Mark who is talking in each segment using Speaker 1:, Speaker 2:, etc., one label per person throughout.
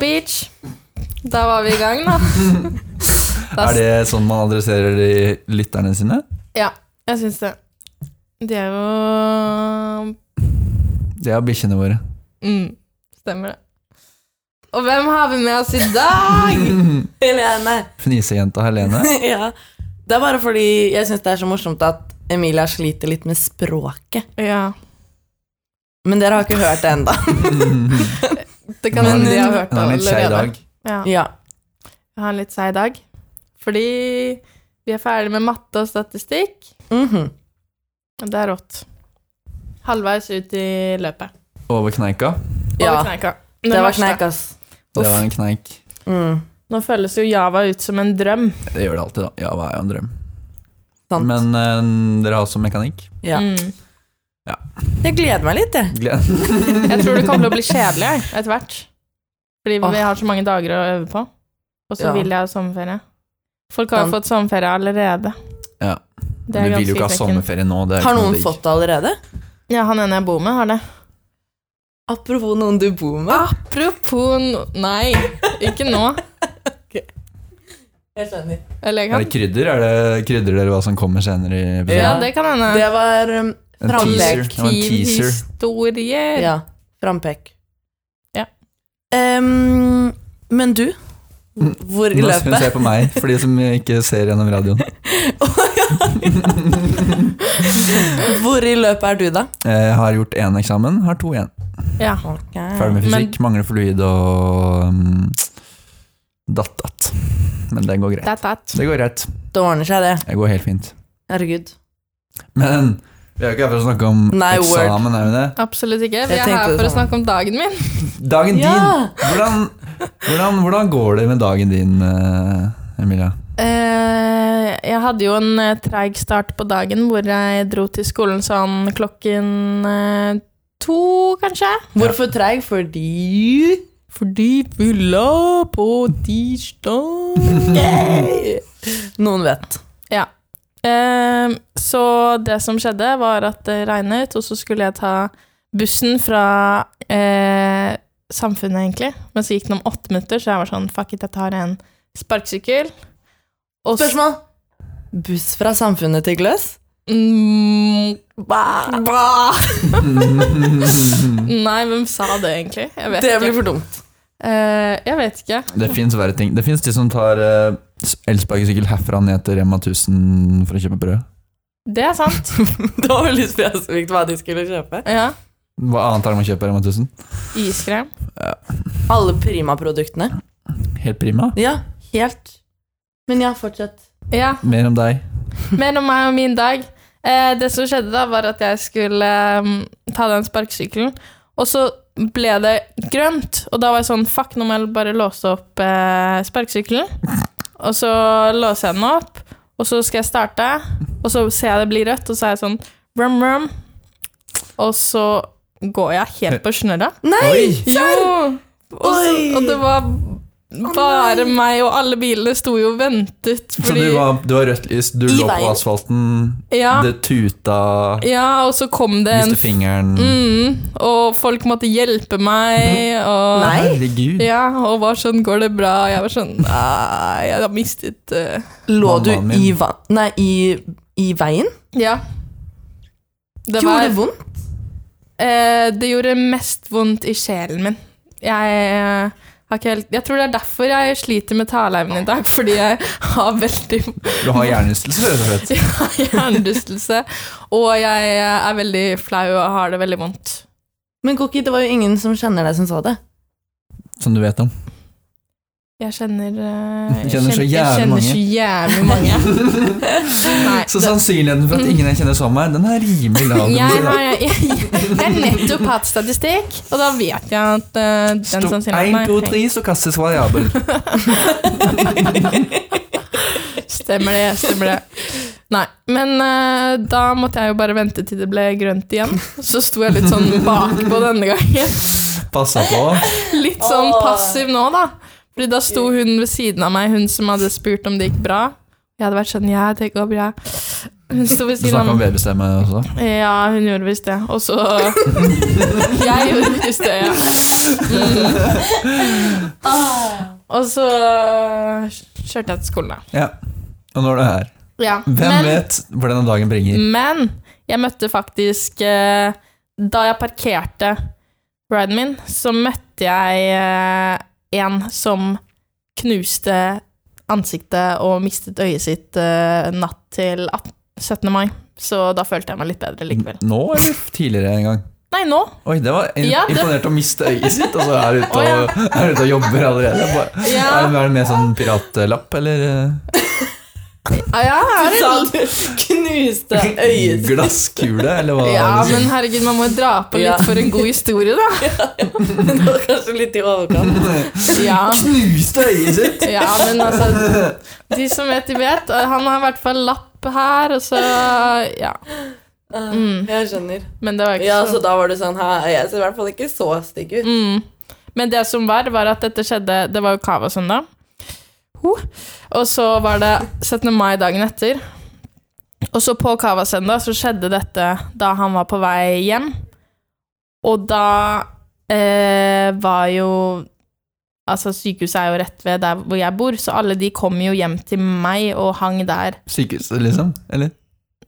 Speaker 1: Beach. Da var vi i gang, da. da
Speaker 2: Er det sånn man adresserer de lytterne sine?
Speaker 1: Ja, jeg syns det. De er jo
Speaker 2: Det er bikkjene våre.
Speaker 1: mm, Stemmer det. Og hvem har vi med oss i dag?
Speaker 3: Helene.
Speaker 2: Fnisejenta Helene.
Speaker 3: ja. Det er bare fordi jeg syns det er så morsomt at Emilia sliter litt med språket.
Speaker 1: Ja,
Speaker 3: Men dere har ikke hørt det ennå.
Speaker 1: Det kan
Speaker 2: Men
Speaker 1: hende de har hørt
Speaker 2: Hun
Speaker 1: det
Speaker 2: har litt skei dag.
Speaker 1: Ja,
Speaker 3: ja.
Speaker 1: jeg har en litt seig dag. Fordi vi er ferdig med matte og statistikk.
Speaker 3: Mhm.
Speaker 1: og Det er rått. Halvveis ut i løpet.
Speaker 2: Over kneika.
Speaker 1: Og
Speaker 3: ja.
Speaker 1: vi kneika.
Speaker 3: Det var
Speaker 1: verste.
Speaker 3: kneik, ass.
Speaker 2: Det var en kneik.
Speaker 3: Mm.
Speaker 1: Nå føles jo Java ut som en drøm.
Speaker 2: Det gjør det alltid, da. Ja, hva er jo en drøm?
Speaker 3: Sant.
Speaker 2: Men eh, dere har også mekanikk.
Speaker 3: Ja.
Speaker 1: Mm.
Speaker 3: Jeg gleder meg litt, jeg.
Speaker 2: Gled.
Speaker 1: Jeg tror det kommer til å bli kjedelig jeg, etter hvert. Fordi
Speaker 3: Åh.
Speaker 1: vi har så mange dager å øve på. Og så
Speaker 3: Ja.
Speaker 1: vil jeg ha sommerferie. Folk har
Speaker 3: Sant.
Speaker 1: jo fått sommerferie allerede.
Speaker 2: Ja.
Speaker 1: Det er ganske
Speaker 2: Du vil jo ikke ha
Speaker 1: utenkende.
Speaker 2: sommerferie nå. Det er jo
Speaker 3: Har
Speaker 2: ikke noe
Speaker 3: noen
Speaker 2: digg.
Speaker 3: fått det allerede?
Speaker 1: Ja, han ene jeg bor med, har det.
Speaker 3: Apropos noen du bor med.
Speaker 1: Apropos no- Nei, ikke nå.
Speaker 3: Jeg skjønner.
Speaker 1: Eller jeg
Speaker 2: Er det
Speaker 1: kan
Speaker 2: krydder? Er det krydder dere hva som kommer senere i episoden?
Speaker 1: Ja, det kan hende.
Speaker 3: Det var um,
Speaker 2: En teaser.
Speaker 3: frampek.
Speaker 2: Det var en teaser.
Speaker 1: historier.
Speaker 3: Ja. Frampek.
Speaker 1: Ja.
Speaker 3: Em, men du, hvor i
Speaker 2: Nå hun
Speaker 3: løpet
Speaker 2: ser på meg, for de som ikke ser gjennom radioen.
Speaker 3: Hvor i løpet er du, da?
Speaker 2: Jeg Eh, har gjort én eksamen, har to igjen.
Speaker 1: Ja.
Speaker 2: Ferdig med fysikk, mangler fluid og um, datt-datt. Men det går greit.
Speaker 1: That, that.
Speaker 2: Det går greit.
Speaker 3: Det ordner seg, det.
Speaker 2: Det går helt fint.
Speaker 3: Herregud.
Speaker 2: Men vi er jo ikke her for å snakke om
Speaker 3: Nei, word.
Speaker 2: eksamen, er vi det?
Speaker 1: Absolutt ikke. Vi
Speaker 3: Jeg
Speaker 1: er
Speaker 3: tenkte
Speaker 1: her
Speaker 3: det
Speaker 1: for å
Speaker 3: samme.
Speaker 1: snakke om dagen min.
Speaker 2: Dagen din!
Speaker 3: Ja!
Speaker 2: Hvordan, hvordan, hvordan går det med dagen din, eh, Emilia?
Speaker 1: Eh, jeg hadde jo en eh, treig start på dagen hvor jeg dro til skolen sånn klokken eh, to, kanskje.
Speaker 3: Hvorfor treig? Fordi
Speaker 1: Fordi vi la på tirsdag.
Speaker 3: Yay! Noen vet.
Speaker 1: ja. Eh, så det som skjedde, var at det regnet, og så skulle jeg ta bussen fra eh, Samfunnet, egentlig. Men så gikk den om åtte minutter, så jeg var sånn fuck it, jeg tar en sparkesykkel. Og så-
Speaker 3: Spørsmål? Buss fra samfunnet til Gløs?
Speaker 1: Mm,
Speaker 3: Bah.
Speaker 1: Nei, hvem sa det egentlig? Jeg vet
Speaker 3: Det
Speaker 1: ikke.
Speaker 3: blir for dumt.
Speaker 1: Eh, jeg vet ikke.
Speaker 2: Det fins verre ting. Det fins de som tar eh, elsparkesykkel herfra ned til Rema 1000 for å kjøpe brød.
Speaker 1: Det er sant.
Speaker 3: Det var veldig spesifikt hva de skulle kjøpe.
Speaker 1: Ja.
Speaker 2: Hva annet er det man kjøper på Rema 1000?
Speaker 1: Iskrem.
Speaker 3: Alle Prima-produktene.
Speaker 2: Helt prima.
Speaker 3: Ja, helt. Men ja, fortsett.
Speaker 1: Ja,
Speaker 2: Mer om deg.
Speaker 1: mer om meg og min dag. Eh, det som skjedde da, var at jeg skulle mm, ta den sparkesykkelen, og så ble det grønt. Og da var jeg sånn fuck, nå må jeg bare låse opp eh, sparkesykkelen. Og så låser jeg den opp, og så skal jeg starte, og så ser jeg det blir rødt, og så er jeg sånn brum, brum. Og så går jeg helt på snørra.
Speaker 3: Nei!
Speaker 1: Jo! Og, så,
Speaker 3: Oi!
Speaker 1: og det var bare meg, og alle bilene sto jo og ventet.
Speaker 2: Så du
Speaker 1: Fordi,
Speaker 2: var, du var rødt lys, du
Speaker 3: I
Speaker 2: lå på
Speaker 3: veien.
Speaker 2: asfalten,
Speaker 1: Ja.
Speaker 2: det tuta,
Speaker 1: ja, og så kom det en
Speaker 2: miste fingeren
Speaker 1: mm, Og folk måtte hjelpe meg. Og,
Speaker 3: Nei.
Speaker 2: Herregud.
Speaker 1: Ja, og var sånn 'Går det bra?' Og jeg var sånn Nei, jeg har mistet eh,
Speaker 3: Lå du
Speaker 2: Mammaen min.
Speaker 3: i vann... Nei, i, i veien?
Speaker 1: Ja. Det
Speaker 3: Gjorde
Speaker 1: var
Speaker 3: det vondt?
Speaker 1: eh, Det gjorde mest vondt i sjelen min. Jeg eh, har ikke helt Jeg tror det er derfor jeg sliter med taleevnen i dag, fordi jeg har veldig
Speaker 2: Du har hjernerystelse, rett og slett.
Speaker 1: Jeg har hjernerystelse, og jeg er veldig flau og har det veldig vondt.
Speaker 3: Men Cookie, det var jo ingen som kjenner deg som sa det.
Speaker 2: Som du vet om.
Speaker 1: Jeg kjenner eh, jeg
Speaker 2: Kjenner så
Speaker 1: jeg
Speaker 2: jævlig
Speaker 1: kjenner så jævlig mange. Nei,
Speaker 2: Så sannsynligheten for at ingen jeg kjenner som meg, den er rimelig lav.
Speaker 1: det-
Speaker 2: du
Speaker 1: Mm.
Speaker 2: må si
Speaker 1: jeg
Speaker 2: det.
Speaker 1: har jeg, jeg har nettopp hatt statistikk, og da vet jeg at eh, den
Speaker 2: Stopp.
Speaker 1: som sier
Speaker 2: Én,
Speaker 1: nei,
Speaker 2: to, tre, så kastes variabel.
Speaker 1: Stemmer det, stemmer det. Nei, men eh, da måtte jeg jo bare vente til det ble grønt igjen. Så sto jeg litt sånn bakpå denne gangen.
Speaker 2: Passa på.
Speaker 1: Litt sånn
Speaker 3: Åh.
Speaker 1: passiv nå, da. Fordi da sto hun ved siden av meg, hun som hadde spurt om det gikk bra. Jeg hadde vært sånn Ja, det går bra. Hun sto ved
Speaker 2: Du
Speaker 1: siden av
Speaker 2: snakka om babystemme også.
Speaker 1: Ja, hun gjorde visst det. Og så Jeg gjorde visst det, ja. Mm. Og så kjørte jeg til skolen, da.
Speaker 2: Ja. Og nå er du her.
Speaker 1: Ja.
Speaker 2: Hvem
Speaker 1: men, Mm,
Speaker 2: vet hvor denne dagen bringer?
Speaker 1: Men jeg møtte faktisk eh, Da jeg parkerte riden min, så møtte jeg eh, en som knuste ansiktet og mistet øyet sitt eh, natt til 18, 17. mai. Så da følte jeg meg litt bedre likevel.
Speaker 2: Nå eller tidligere en gang?
Speaker 1: Nei, nå.
Speaker 2: Oi, det var in
Speaker 1: Ja, det-
Speaker 2: imponert å miste øyet sitt, og så er du ute
Speaker 1: Å, ja.
Speaker 2: og, er ute og jobber allerede. Bare,
Speaker 1: Ja.
Speaker 2: er, det- er det med sånn piratlapp, eller eh,
Speaker 1: Ah, ja,
Speaker 3: Du
Speaker 1: er det
Speaker 3: sa du knuste øyet
Speaker 2: glasskule, eller hva?
Speaker 1: Ja,
Speaker 2: liksom?
Speaker 1: men herregud, man må jo dra på
Speaker 3: Ja.
Speaker 1: litt for en god historie, da.
Speaker 3: Det var kanskje litt i overkant.
Speaker 1: Ja,
Speaker 2: Knuste øyet sitt!
Speaker 1: ja men altså De som vet, de vet. Han har i hvert fall lapp her, og så Ja. Mm.
Speaker 3: Jeg skjønner.
Speaker 1: Men det var ikke
Speaker 3: Ja,
Speaker 1: så
Speaker 3: så da var du sånn Hæ, jeg ser i hvert fall ikke så stygg ut.
Speaker 1: Mm. Men det som var, var at dette skjedde Det var jo kava søndag. Ho. Og så var det 17. mai dagen etter. Og så på kava søndag så skjedde dette da han var på vei hjem. Og da eh, var jo Altså, sykehuset er jo rett ved der hvor jeg bor, så alle de kom jo hjem til meg og hang der.
Speaker 2: Sykehuset, liksom? Eller?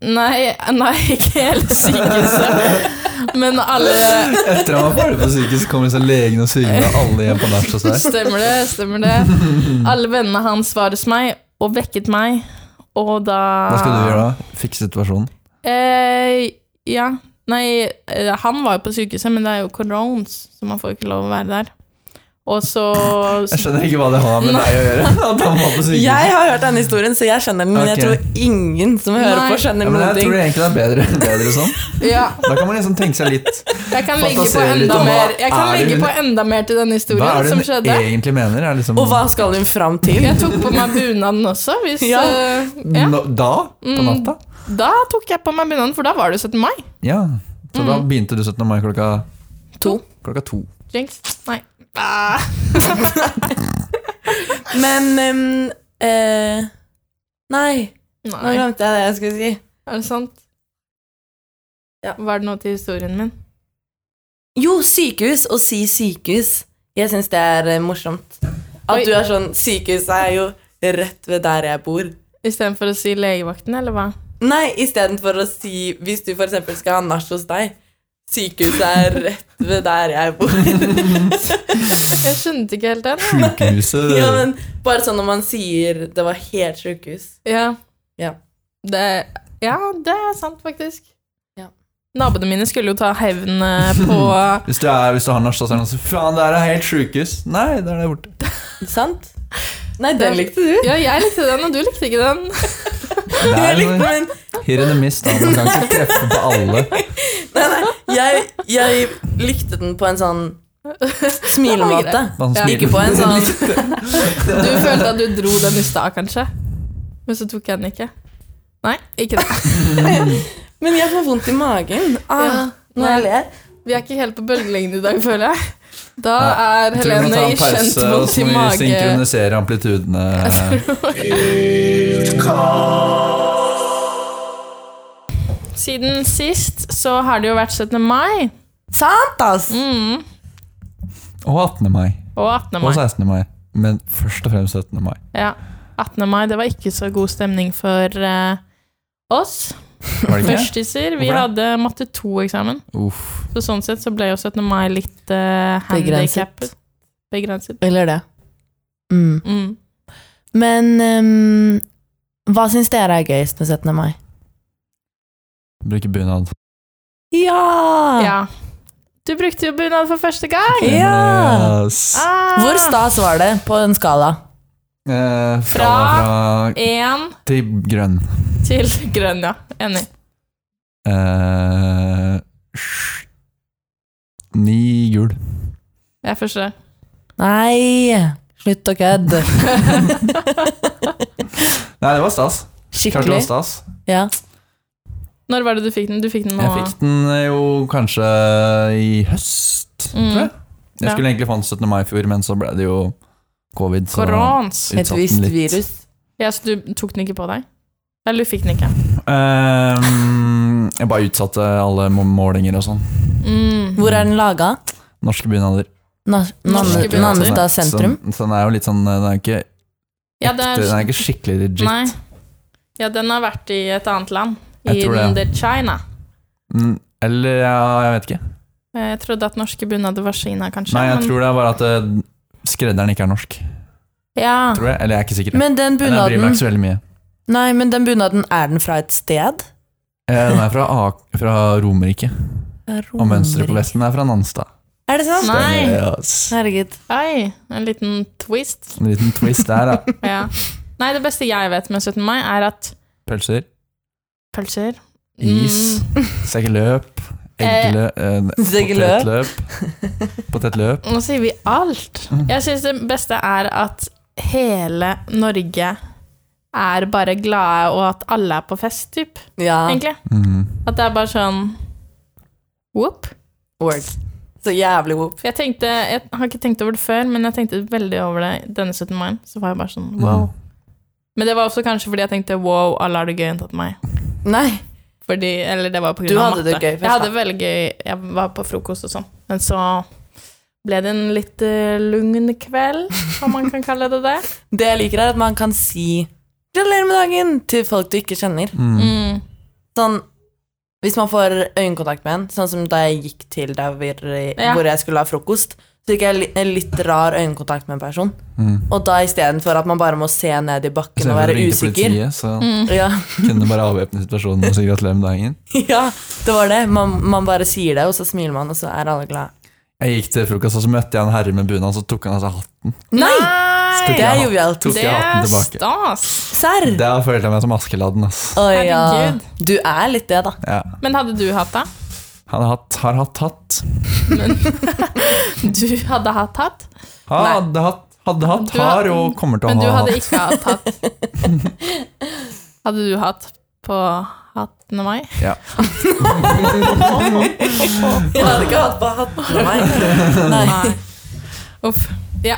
Speaker 1: Nei, nei ikke hele sykehuset, men alle
Speaker 2: Etter at han var ferdig på sykehuset, kommer liksom legen og synger og alle hjem på nach hos deg.
Speaker 1: Stemmer det, stemmer det. Alle vennene hans var hos meg og vekket meg, og da
Speaker 2: Hva skal du gjøre da? Fikse situasjonen?
Speaker 1: Eh, ja. Nei, eh, han var jo på sykehuset, men det er jo korones, så man får jo ikke lov å være der. Og så
Speaker 2: Jeg skjønner ikke hva det har med deg å gjøre. At han var på sykehuset.
Speaker 3: Jeg har hørt denne historien, så jeg skjønner den, men jeg
Speaker 2: Ok.
Speaker 3: tror ingen som hører
Speaker 1: Nei.
Speaker 3: på, skjønner
Speaker 2: ja, men
Speaker 3: noen
Speaker 2: jeg
Speaker 3: ting.
Speaker 2: tror det egentlig er bedre, bedre sånn.
Speaker 1: Ja,
Speaker 2: Da kan man liksom tenke seg litt
Speaker 1: jeg kan legge på
Speaker 2: Fantasere litt
Speaker 1: enda
Speaker 2: om hva
Speaker 1: mer Jeg kan
Speaker 2: er det
Speaker 1: legge
Speaker 2: hun-
Speaker 1: på enda mer til denne
Speaker 2: Hva er
Speaker 1: historien
Speaker 2: det
Speaker 1: som
Speaker 2: hun
Speaker 1: skjedde.
Speaker 2: egentlig mener? Er liksom,
Speaker 3: Og hva skal hun fram til?
Speaker 1: Jeg tok på meg bunaden også, hvis
Speaker 3: Ja.
Speaker 1: eh, ja.
Speaker 2: Nå- Da? På
Speaker 1: Mm.
Speaker 2: natta?
Speaker 1: Da tok jeg på meg bunaden, for da var det 17. mai.
Speaker 2: Ja. Så da begynte du 17. mai klokka
Speaker 1: To.
Speaker 2: Klokka to.
Speaker 1: Jinx. Nei. Ah.
Speaker 3: Men ehm, eh, Nei, nå
Speaker 1: Nei.
Speaker 3: glemte jeg det jeg skulle si.
Speaker 1: Er det sant?
Speaker 3: Ja.
Speaker 1: Var det noe til historien min?
Speaker 3: Jo, sykehus og si sykehus. Jeg syns det er eh, morsomt. At
Speaker 1: Oi.
Speaker 3: du er sånn Sykehus er jo rett ved der jeg bor.
Speaker 1: Istedenfor å si legevakten, eller hva?
Speaker 3: Nei, istedenfor å si Hvis du f.eks. skal ha nach hos deg Sykehuset er rett ved der jeg bor.
Speaker 1: Jeg skjønte ikke helt den. jeg.
Speaker 2: Sjukehuset
Speaker 3: Ja, men Bare sånn når man sier 'det var helt sjukehus'.
Speaker 1: Ja.
Speaker 3: Ja.
Speaker 1: Det, ja, det er sant, faktisk.
Speaker 3: Ja.
Speaker 1: Naboene mine skulle jo ta hevn eh, på
Speaker 2: Hvis du, er, hvis du har nach, så er det noen som Faen, det her er helt sjukehus. Nei, det er der borte.
Speaker 3: Sant? Nei, den likte du.
Speaker 1: Ja, jeg likte den, og du likte ikke den.
Speaker 2: Det
Speaker 3: Jeg
Speaker 2: er
Speaker 3: likte
Speaker 2: noe-
Speaker 3: den.
Speaker 2: Hit and a miss, da. Man kan ikke treffe på alle.
Speaker 3: Nei, nei, jeg, jeg likte den på en sånn smilemåte.
Speaker 2: Man
Speaker 1: Ja.
Speaker 2: smiler.
Speaker 3: Ikke på en sånn
Speaker 1: Du følte at du dro den i stad, kanskje. Men så tok jeg den ikke. Nei, ikke det.
Speaker 3: Men jeg får vondt i magen ah,
Speaker 1: Ja,
Speaker 3: når jeg ler.
Speaker 1: Vi er ikke helt på bølgelengde i dag, føler jeg. Da er
Speaker 2: Jeg tror vi må
Speaker 1: Helene
Speaker 2: ta
Speaker 1: i
Speaker 2: en
Speaker 1: kjent
Speaker 2: pause, og
Speaker 1: vondt
Speaker 2: så
Speaker 1: i
Speaker 2: må vi
Speaker 1: mage.
Speaker 2: synkronisere amplitudene.
Speaker 3: Altså,
Speaker 1: Siden sist så har det jo vært 17. mai
Speaker 3: Sant, ass!
Speaker 1: mm.
Speaker 2: Og 18. mai.
Speaker 1: og 18.
Speaker 2: Og
Speaker 1: mai.
Speaker 2: 16. mai. Men først og fremst 17. mai.
Speaker 1: Ja. 18. mai, det var ikke så god stemning for eh, oss
Speaker 2: Var det ikke?
Speaker 1: førstiser. Vi
Speaker 2: Hvorfor
Speaker 1: hadde matte 2-eksamen,
Speaker 2: Uff.
Speaker 1: så sånn sett så ble jo 17. mai litt uh, handikappet. Begrenset.
Speaker 3: Eller det. Mm.
Speaker 1: Mm.
Speaker 3: Men ehm, hva syns dere er gøyest med 17. mai?
Speaker 2: Bruke bunad.
Speaker 3: Ja! Ah.
Speaker 1: Ja. Du brukte jo bunad for første gang!
Speaker 3: Ja.
Speaker 2: Yes.
Speaker 1: Ah,
Speaker 3: Hvor stas var det på en skala?
Speaker 2: Eh, fra,
Speaker 1: Fra-
Speaker 2: fra
Speaker 1: Én
Speaker 2: til grønn.
Speaker 1: til grønn, ja. Enig.
Speaker 2: Eh, sj- ni gul.
Speaker 1: Jeg forstår.
Speaker 3: Nei! Slutt å kødde.
Speaker 2: Nei, det var stas. Klart det var
Speaker 3: Skikkelig.
Speaker 2: stas.
Speaker 3: Ja.
Speaker 1: Når var det du fikk den? Du fikk den nå?
Speaker 2: Jeg fikk den eh, jo kanskje i høst,
Speaker 1: Mm.
Speaker 2: tror jeg. Jeg
Speaker 1: Ja.
Speaker 2: skulle egentlig få den 17. mai i fjor, men så ble det jo covid. Så
Speaker 1: Korans.
Speaker 2: utsatt
Speaker 3: Et
Speaker 2: den
Speaker 3: visst
Speaker 2: litt.
Speaker 3: virus.
Speaker 1: Ja, så du tok den ikke på deg? Eller du fikk den ikke?
Speaker 2: Ehm, jeg bare utsatte alle må- målinger og sånn.
Speaker 1: Mm.
Speaker 3: Hvor er den laga?
Speaker 2: Norske bunader.
Speaker 3: Nas-
Speaker 1: Norske
Speaker 3: Nan-
Speaker 1: bunader.
Speaker 3: Nannestad
Speaker 2: Så den-
Speaker 3: sentrum?
Speaker 2: Så, den er jo litt sånn Den er jo ikke,
Speaker 1: Ja, det
Speaker 2: ekte, den er
Speaker 1: er,
Speaker 2: ikke skikkelig legit.
Speaker 1: nei. ja, den har vært i et annet land.
Speaker 2: Jeg
Speaker 1: I
Speaker 2: tror det.
Speaker 1: The China.
Speaker 2: Mm, Eller ja, jeg vet ikke.
Speaker 1: Eh, Jeg trodde at norske bunader var Kina, kanskje.
Speaker 2: Nei, jeg
Speaker 1: men-
Speaker 2: tror det er bare at eh, skredderen ikke er norsk.
Speaker 1: ja.
Speaker 2: Tror jeg, Eller jeg er ikke sikker.
Speaker 3: Men den
Speaker 2: Men jeg bryr meg ikke
Speaker 3: bunaden
Speaker 2: så veldig mye.
Speaker 3: Nei, men den bunaden, er den fra et sted?
Speaker 2: Eh, Den er fra, A- fra Romerike. Og mønsteret på vesten er fra Nanstad.
Speaker 3: Er det sant?
Speaker 1: Nei.
Speaker 2: Yes.
Speaker 3: Herregud.
Speaker 1: Oi, en liten twist.
Speaker 2: En liten twist der, da.
Speaker 1: Ja. Nei, det beste jeg vet med 17. mai, er at
Speaker 2: Pølser,
Speaker 1: pølser
Speaker 2: is,
Speaker 1: Mm,
Speaker 2: sekkeløp,
Speaker 1: Eh,
Speaker 2: eggeløp eh,
Speaker 3: sekkeløp.
Speaker 2: Potetløp. Potetløp.
Speaker 1: nå sier vi alt.
Speaker 2: Mm.
Speaker 1: Jeg syns det beste er at hele Norge er bare glade, og at alle er på fest, typ,
Speaker 3: Ja,
Speaker 1: egentlig.
Speaker 2: Mm.
Speaker 1: At det er bare sånn Whoop.
Speaker 3: word. Så jævlig whoop.
Speaker 1: For jeg tenkte, jeg har ikke tenkt over det før, men jeg tenkte veldig over det denne 17. mai. Så var jeg bare sånn wow.
Speaker 2: Mm.
Speaker 1: Men det var også kanskje fordi jeg tenkte wow, alle har det gøy unntatt meg.
Speaker 3: Nei.
Speaker 1: Fordi, eller det var på grunn
Speaker 3: Du
Speaker 1: av
Speaker 3: hadde
Speaker 1: matte.
Speaker 3: det gøy først,
Speaker 1: jeg hadde
Speaker 3: da.
Speaker 1: veldig gøy. Jeg var på frokost og sånn. Men så ble det en litt eh, lugn kveld, om man kan kalle det det.
Speaker 3: Det jeg liker, er at man kan si 'gratulerer med dagen' til folk du ikke kjenner.
Speaker 2: Mm.
Speaker 1: Mm.
Speaker 3: Sånn Hvis man får øyekontakt med en, sånn som da jeg gikk til der hvor,
Speaker 1: Ja.
Speaker 3: hvor jeg skulle ha frokost, så fikk jeg li- en litt rar øyekontakt med en person.
Speaker 2: Mm.
Speaker 3: Og da istedenfor at man bare må se ned i bakken og
Speaker 2: Istedenfor å
Speaker 3: være
Speaker 2: ringe til
Speaker 3: usikker Mm.
Speaker 2: politiet, så
Speaker 3: ja,
Speaker 2: kunne du bare avvæpne situasjonen og si gratulerer med dagen.
Speaker 3: ja, det var det. Man, man bare sier det, og så smiler man, og så er alle glade.
Speaker 2: Jeg gikk til frokost, og så møtte jeg en herre med bunad, så tok han av seg hatten.
Speaker 3: Nei!
Speaker 1: Nei!
Speaker 2: Tok jeg
Speaker 3: Det er
Speaker 2: hatten-
Speaker 3: jovialt.
Speaker 2: tok
Speaker 1: Det
Speaker 2: jeg
Speaker 1: er
Speaker 2: hatten tilbake.
Speaker 1: stas!
Speaker 3: Serr!
Speaker 2: Da følte jeg meg som Askeladden, ass.
Speaker 3: Mm. Å ja.
Speaker 1: Herregud.
Speaker 3: Du er litt det, da.
Speaker 2: Ja.
Speaker 1: Men hadde du hatt det?
Speaker 2: Han har hatt, har hatt, hatt.
Speaker 1: Du hadde hatt hatt,
Speaker 2: Hadde hatt, hadde hatt,
Speaker 1: Du
Speaker 2: har
Speaker 1: hadde-
Speaker 2: og kommer til
Speaker 1: men du
Speaker 2: å ha
Speaker 1: hadde
Speaker 2: hatt.
Speaker 1: ikke hatt hatt. Hadde du hatt på hattene mai?
Speaker 2: Ja.
Speaker 3: Jeg hadde ikke hatt på hatten av meg. Nei.
Speaker 1: Nei. Uff. Ja.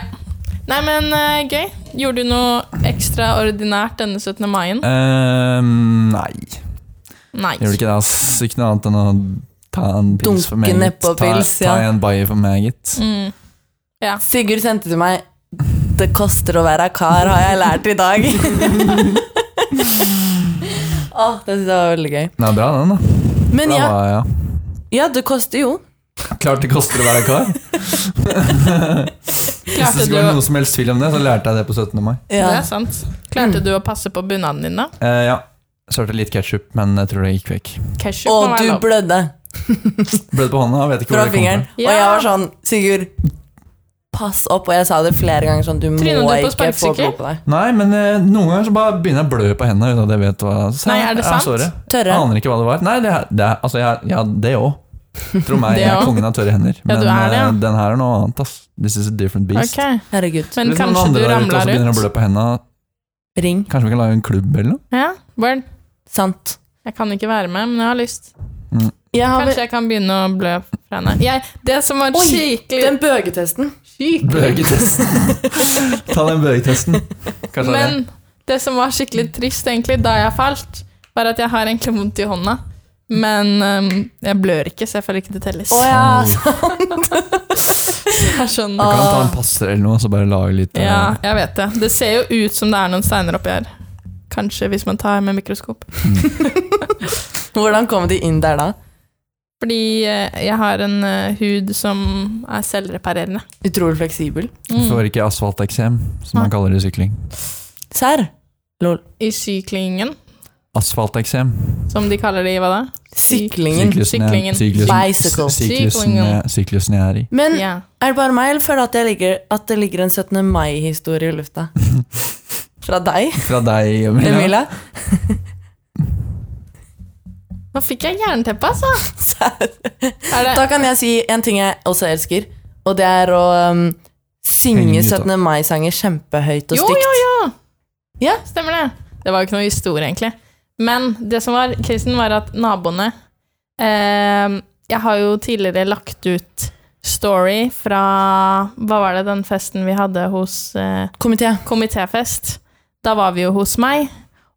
Speaker 1: Nei, men eh, gøy. Gjorde du noe ekstraordinært denne 17. maien?
Speaker 2: Ehm, nei,
Speaker 1: Nei.
Speaker 2: gjorde ikke det, ass. Ikke noe annet enn å ta en pils for
Speaker 3: Dunke
Speaker 2: meg, gitt.
Speaker 3: nedpå
Speaker 2: Ta,
Speaker 3: pils,
Speaker 2: ta
Speaker 3: ja.
Speaker 2: en bayer for meg, gitt.
Speaker 1: Mm. Ja.
Speaker 3: Sigurd sendte til meg 'Det koster å være kar', har jeg lært i dag. Åh, det synes jeg var veldig gøy.
Speaker 2: Det er bra, den, da.
Speaker 3: Men
Speaker 2: Da
Speaker 3: ja,
Speaker 2: var jeg,
Speaker 3: ja det koster jo.
Speaker 2: ja. Klart det koster å være kar. Hvis det
Speaker 1: Klarte
Speaker 2: skulle være
Speaker 1: du,
Speaker 2: noe som helst tvil om det, så lærte jeg det på 17. mai.
Speaker 1: det
Speaker 3: Ja.
Speaker 1: er sant. Klarte du å passe på bunaden din, da?
Speaker 2: Eh, ja. Sørte litt ketsjup, men jeg tror det gikk vekk.
Speaker 1: Ketchup må
Speaker 3: Og
Speaker 1: være
Speaker 3: du
Speaker 1: lov.
Speaker 3: blødde
Speaker 2: Ble det på hånda? Jeg vet ikke
Speaker 3: fra
Speaker 2: hvor det kom
Speaker 3: fingeren.
Speaker 2: fra.
Speaker 3: Og
Speaker 1: Ja.
Speaker 3: jeg var sånn 'Sigurd, pass opp', og jeg sa det flere ganger sånn 'Du
Speaker 1: Trine,
Speaker 3: må
Speaker 1: du er på
Speaker 3: ikke få
Speaker 1: sparkesykkel?
Speaker 3: blod på deg'.
Speaker 2: Nei, men eh, noen ganger så bare begynner jeg å blø på hendene uten at jeg vet hva så,
Speaker 1: Nei, er det sant?
Speaker 2: Jeg, sorry. jeg
Speaker 3: Tørre.
Speaker 2: aner ikke hva det var. Nei, det er, det er altså, jeg, ja, det òg. Tro meg,
Speaker 1: Det
Speaker 2: jeg er
Speaker 1: også.
Speaker 2: kongen av tørre hender.
Speaker 1: Ja,
Speaker 2: Men
Speaker 1: du er det, ja.
Speaker 2: eh, den her er noe annet, ass. This is a different beast.
Speaker 1: Ok.
Speaker 3: Herregud.
Speaker 1: Men
Speaker 2: Hvis noen
Speaker 1: kanskje
Speaker 2: andre
Speaker 1: du
Speaker 2: der ute også
Speaker 1: ramla
Speaker 2: begynner å
Speaker 1: ut?
Speaker 2: blø på hendene,
Speaker 3: Ring.
Speaker 2: kanskje vi kan lage en klubb eller noe?
Speaker 1: Ja, Word.
Speaker 3: Sant.
Speaker 1: Jeg kan ikke være med, men jeg har lyst.
Speaker 3: Jeg har vel-
Speaker 1: Kanskje jeg kan begynne å blø fra henne. Jeg, det som var
Speaker 3: Oi,
Speaker 1: skikkelig
Speaker 3: den bøgetesten.
Speaker 2: Bøgetesten. Ta den bøgetesten. Kanskje det er det.
Speaker 1: Men det som var skikkelig trist egentlig da jeg falt, var at jeg har egentlig vondt i hånda. Men øhm, jeg blør ikke, så jeg føler ikke det telles.
Speaker 3: Å ja,
Speaker 2: Åh.
Speaker 1: Det er sånn,
Speaker 2: Du kan ta en passer eller noe, så bare lage litt eh,
Speaker 1: ja, jeg vet det. Det ser jo ut som det er noen steiner oppi her. Kanskje hvis man tar med mikroskop.
Speaker 3: Hvordan kom de inn der da?
Speaker 1: Fordi eh, jeg har en eh, hud som er selvreparerende.
Speaker 3: Utrolig fleksibel.
Speaker 2: Du
Speaker 1: mm.
Speaker 2: får ikke asfalteksem, som man kaller det i sykling.
Speaker 3: Serr? Lol.
Speaker 1: I syklingen,
Speaker 2: Asfalteksem.
Speaker 1: som de kaller det i hva da?
Speaker 3: Syklingen.
Speaker 2: Syklusen jeg-
Speaker 1: Syklingen.
Speaker 2: syklusen-
Speaker 3: Bicycle.
Speaker 2: syklusen jeg- Syklusen jeg er i.
Speaker 3: Men
Speaker 1: Ja.
Speaker 3: er det bare meg, eller føler du at, jeg ligger, at det ligger en 17. mai-historie i lufta? Fra deg,
Speaker 2: Fra deg, Emilia.
Speaker 3: Emilia?
Speaker 1: Nå fikk jeg jernteppe, altså!
Speaker 3: Serr.
Speaker 1: Er det,
Speaker 3: Da kan jeg si en ting jeg også elsker, og det er å um, synge
Speaker 2: Henge ut, da.
Speaker 3: 17. mai-sanger kjempehøyt og
Speaker 1: jo,
Speaker 3: stygt.
Speaker 1: jo, jo!
Speaker 3: Ja.
Speaker 1: Stemmer det. Det var jo ikke noe historie, egentlig. Men det som var krisen, var at naboene eh, Jeg har jo tidligere lagt ut story fra Hva var det, den festen vi hadde hos eh,
Speaker 3: Komité.
Speaker 1: komitéfest. Da var vi jo hos meg,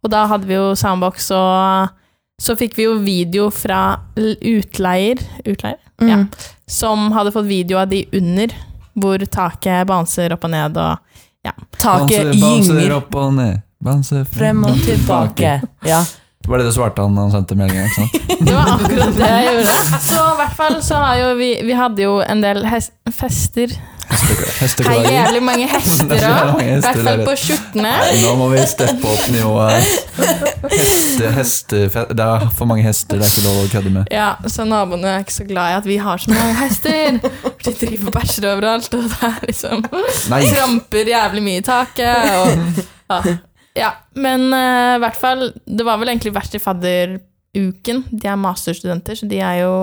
Speaker 1: og da hadde vi jo soundbox og så fikk vi jo video fra l- utleier, utleier ja,
Speaker 3: Mm.
Speaker 1: som hadde fått video av de under, hvor taket bouncer opp og ned. Og,
Speaker 3: Taket gynger
Speaker 2: opp Mm. og ned. Bouncer
Speaker 3: frem og tilbake. Ja.
Speaker 2: Var det det svarte han han sendte meldinga? ikke sant?
Speaker 1: det var akkurat det jeg gjorde. Så i hvert fall så har jo vi Vi hadde jo en del hes- fester.
Speaker 2: Hestekla-
Speaker 1: Hei,
Speaker 2: Hesteklager.
Speaker 1: jævlig mange hester
Speaker 2: Det er så
Speaker 1: òg.
Speaker 2: mange
Speaker 1: I
Speaker 2: hester
Speaker 1: hvert fall
Speaker 2: der.
Speaker 1: på skjortene.
Speaker 2: Nå må vi steppe opp nivået. Heste, heste, det er for mange hester, det er ikke lov å kødde med.
Speaker 1: Ja, så naboene er ikke så glad i at vi har så mange hester. For de driver og bæsjer overalt, og det er liksom
Speaker 2: Nei!
Speaker 1: tramper jævlig mye i taket. Og, ja. ja, men eh, i hvert fall, det var vel egentlig verst i fadderuken. De er masterstudenter, så de er jo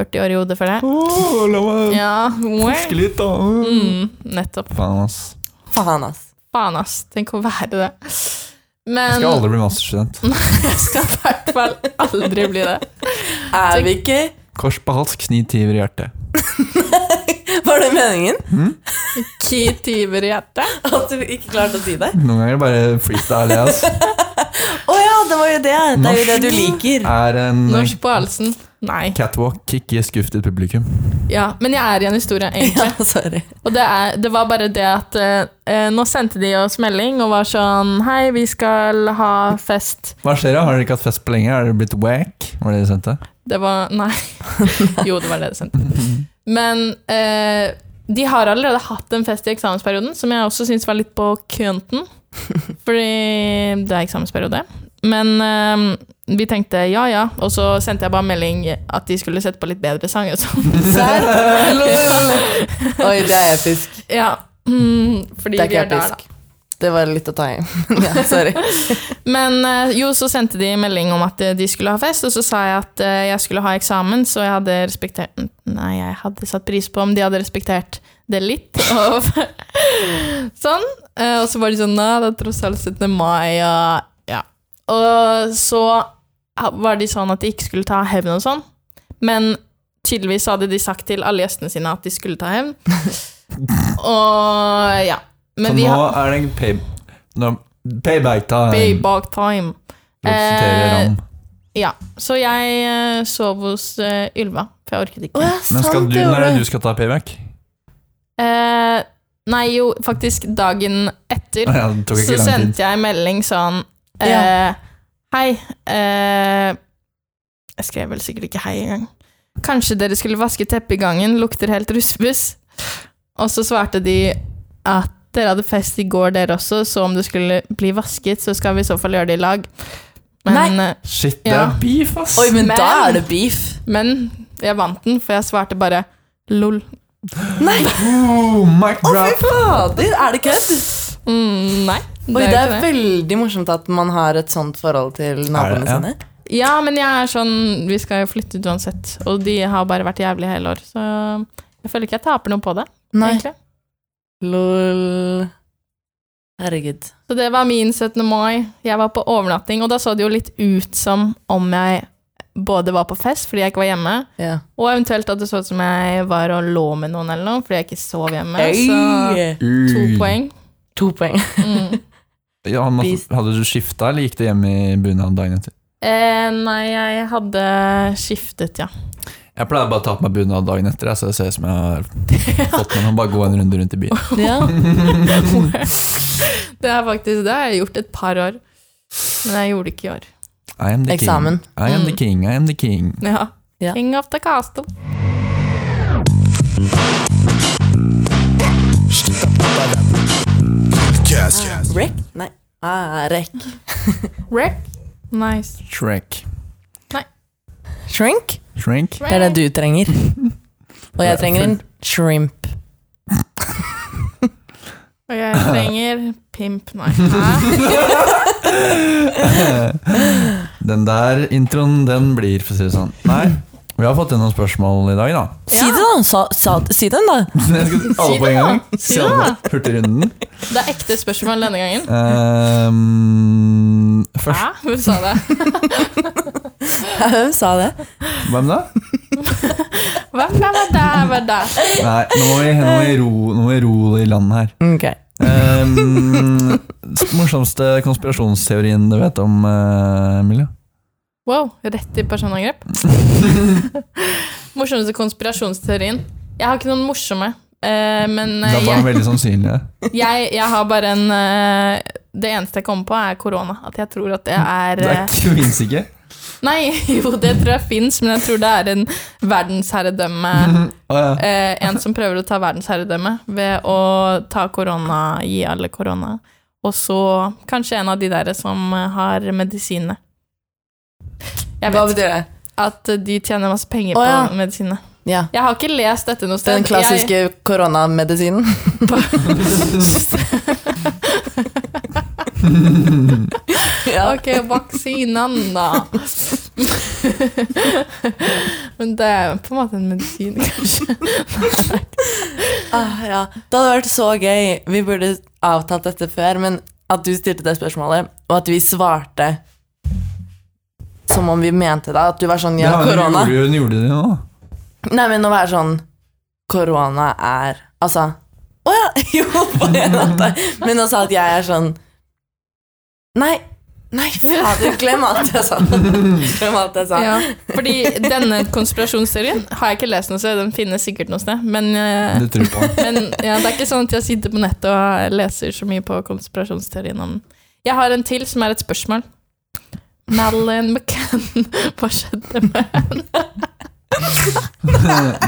Speaker 1: 40 år i hodet, føler jeg.
Speaker 2: Åh, la meg
Speaker 1: Ja,
Speaker 2: forske litt, da.
Speaker 1: mm, nettopp.
Speaker 2: Faen, ass.
Speaker 3: Faen, ass.
Speaker 1: Faen, ass. Tenk å være det. Men
Speaker 2: Jeg skal aldri bli masterstudent.
Speaker 1: jeg skal i hvert fall aldri bli det.
Speaker 3: Er vi ikke
Speaker 2: Kors på hals, kni tiver i hjertet.
Speaker 3: Var det meningen?
Speaker 1: Ki tiver i hjertet.
Speaker 3: At du ikke klarte å si det?
Speaker 2: Noen ganger bare freestyle, jeg, ass.
Speaker 3: Å ja, det var jo det! Det er jo det du liker.
Speaker 2: Er en
Speaker 1: Norsk på halsen. Nei.
Speaker 2: catwalk, ikke skuff ditt publikum.
Speaker 1: Ja, men jeg er i en historie, egentlig.
Speaker 3: Ja, sorry.
Speaker 1: Og det, er, det var bare det at eh, Nå sendte de oss melding og var sånn Hei, vi skal ha fest.
Speaker 2: Hva skjer da? Har dere ikke hatt fest på lenge? Er dere blitt wack? Var det det de sendte?
Speaker 1: Det var Nei. Jo, det var det de sendte. Men eh, de har allerede hatt en fest i eksamensperioden, som jeg også syns var litt på kønten. Fordi det er eksamensperiode. Men eh, vi tenkte ja, ja. Og så sendte jeg bare melding at de skulle sette på litt bedre sanger. og sånn.
Speaker 3: Der. Oi, det er episk.
Speaker 1: Ja. Mm, fordi
Speaker 3: Det
Speaker 1: vi
Speaker 3: er ikke
Speaker 1: er der, da.
Speaker 3: episk. Det var litt å ta i. Ja, sorry.
Speaker 1: Men eh, jo, så sendte de melding om at eh, de skulle ha fest, og så sa jeg at eh, jeg skulle ha eksamen, så jeg hadde respektert Nei, jeg hadde satt pris på om de hadde respektert det litt. Og, sånn. Eh, og så var de sånn Nei, det er tross alt 17. mai, og ja. Og så ha- var de sånn at de ikke skulle ta hevn og sånn, men tydeligvis hadde de sagt til alle gjestene sine at de skulle ta hevn. Og ja.
Speaker 2: Så
Speaker 1: Men vi
Speaker 2: nå
Speaker 1: har
Speaker 2: er det en pay... Nå, payback time.
Speaker 1: Payback time.
Speaker 2: Representerer
Speaker 1: Eh,
Speaker 2: han.
Speaker 1: Ja, så jeg eh, sov hos eh, Ylva, for jeg orket ikke.
Speaker 3: Å ja,
Speaker 2: Men skal
Speaker 3: sant,
Speaker 2: du,
Speaker 3: det
Speaker 2: når er
Speaker 3: gjorde
Speaker 2: det du skal ta payback?
Speaker 1: Eh, nei, jo, faktisk dagen etter
Speaker 2: Å Ja, det tok
Speaker 1: så
Speaker 2: ikke lang tid.
Speaker 1: sendte jeg melding sånn eh, Hei. eh, jeg skrev vel sikkert ikke hei engang. Kanskje dere skulle vaske teppet i gangen, lukter helt russbuss. Og så svarte de at dere hadde fest i går, dere også, så om det skulle bli vasket, så skal vi i så fall gjøre det i lag. Men, eh,
Speaker 2: Shit, det
Speaker 1: Ja.
Speaker 2: er beef, ass.
Speaker 3: Oi, men,
Speaker 1: Men-
Speaker 3: da er det beef.
Speaker 1: men jeg vant den, for jeg svarte bare lol.
Speaker 3: Nei,
Speaker 2: Oh, mic
Speaker 3: å fy
Speaker 2: drop.
Speaker 3: fader! Er det kødd?
Speaker 1: Mm, nei.
Speaker 3: Oi,
Speaker 1: jo
Speaker 3: det
Speaker 1: ikke
Speaker 3: er veldig morsomt at man har et sånt forhold til naboene
Speaker 2: Er det, ja?
Speaker 3: sine.
Speaker 1: Ja, men jeg er sånn Vi skal jo flytte ut uansett, og de har bare vært jævlige hele år, så jeg føler ikke jeg taper noe på det.
Speaker 3: Nei.
Speaker 1: egentlig.
Speaker 3: Lol. Herregud.
Speaker 1: Så det var min 17. mai. Jeg var på overnatting, og da så det jo litt ut som om jeg både var på fest fordi jeg ikke var hjemme,
Speaker 3: Ja.
Speaker 1: og eventuelt at det så ut som jeg var og lå med noen eller noe fordi jeg ikke sov hjemme. Så
Speaker 3: Øy.
Speaker 1: to
Speaker 2: Ui.
Speaker 1: poeng.
Speaker 3: To poeng.
Speaker 1: Mm.
Speaker 2: Ja, han måtte,
Speaker 3: Beast.
Speaker 2: hadde du skifta, eller gikk du hjem i bunad dagen etter?
Speaker 1: Eh, nei, jeg hadde skiftet, ja.
Speaker 2: Jeg pleier bare å ta på meg bunad dagen etter, jeg, så det ser ut som jeg har fått med meg bare gå en runde rundt i byen.
Speaker 3: Ja.
Speaker 1: Det er faktisk det. Jeg har jeg gjort et par år, men jeg gjorde det ikke i år.
Speaker 2: I am the
Speaker 3: Eksamen.
Speaker 2: king. I am the
Speaker 1: Mm.
Speaker 2: king, I am the king.
Speaker 1: Ja.
Speaker 3: Ja.
Speaker 1: King of the castle.
Speaker 3: Rekk? Nei. Ah, rekk.
Speaker 1: Rick. Nice.
Speaker 2: Shrek.
Speaker 3: Shrink?
Speaker 2: Shrink?
Speaker 3: Det er det du trenger. Og jeg trenger en shrimp.
Speaker 1: Og jeg trenger pimp, nei. Hæ?
Speaker 2: Den der introen, den blir, for å si det sånn. Nei, vi har fått inn noen spørsmål i dag, da.
Speaker 3: Si det, da! Sa, sa, si den, da!
Speaker 2: Jeg skal alle på en gang.
Speaker 1: Si det, da.
Speaker 2: Se alle på Hurtigrunden.
Speaker 1: Det er ekte spørsmål denne gangen.
Speaker 2: Ehm, først,
Speaker 1: Hæ? Hun sa det.
Speaker 3: Hun sa det.
Speaker 2: hvem da?
Speaker 1: Hva hva var det? Hva var det?
Speaker 2: Nei, nå må vi, nå må vi, ro, nå må vi ro det i land her.
Speaker 3: Ok.
Speaker 2: Ehm, s- morsomste konspirasjonsteorien du vet om, eh, Emilie?
Speaker 1: Wow, rett i personangrep. Morsomste konspirasjonsteorien. Jeg har ikke noen morsomme, eh, men eh,
Speaker 2: Det var
Speaker 1: jeg,
Speaker 2: veldig sannsynlig.
Speaker 1: jeg, jeg har bare en eh, Det eneste jeg kommer på, er korona. At jeg tror at det er
Speaker 2: Det
Speaker 1: eh,
Speaker 2: fins ikke.
Speaker 1: Nei, jo, det tror jeg fins, men jeg tror det er en verdensherredømme
Speaker 2: Å, ja.
Speaker 1: eh, En som prøver å ta verdensherredømme ved å ta korona, gi alle korona. Og så kanskje en av de der som eh, har medisinene. Jeg
Speaker 3: Hva
Speaker 1: vet
Speaker 3: betyr det?
Speaker 1: at de tjener masse penger
Speaker 3: Å, ja.
Speaker 1: på medisinene.
Speaker 3: Ja.
Speaker 1: Jeg har ikke lest dette noe sted.
Speaker 3: Den klassiske koronamedisinen.
Speaker 1: Jeg,
Speaker 3: ja.
Speaker 1: ok, vaksinen, da. Men det er på en måte en medisin, kanskje.
Speaker 3: Ah, ja. Det hadde vært så gøy. Vi burde avtalt dette før, men at du stilte det spørsmålet, og at vi svarte som om vi mente det. At du var sånn ja,
Speaker 2: Ja, hun
Speaker 3: korona.
Speaker 2: gjorde- Hun gjorde det jo nå.
Speaker 3: Nei, men å være sånn Korona er Altså Å ja! Jo, på en måte. Men også at jeg er sånn Nei, nei, fader, glem alt jeg sa. Glem alt jeg sa.
Speaker 1: Ja. Fordi denne konspirasjonsteorien har jeg ikke lest noe sted. Den finnes sikkert noe sted. Men, eh,
Speaker 2: Det tror jeg på.
Speaker 1: men ja, det er ikke sånn at jeg sitter på nettet og leser så mye på konspirasjonsteorien om den. Jeg har en til som er et spørsmål. Madeleine McCann, hva skjedde med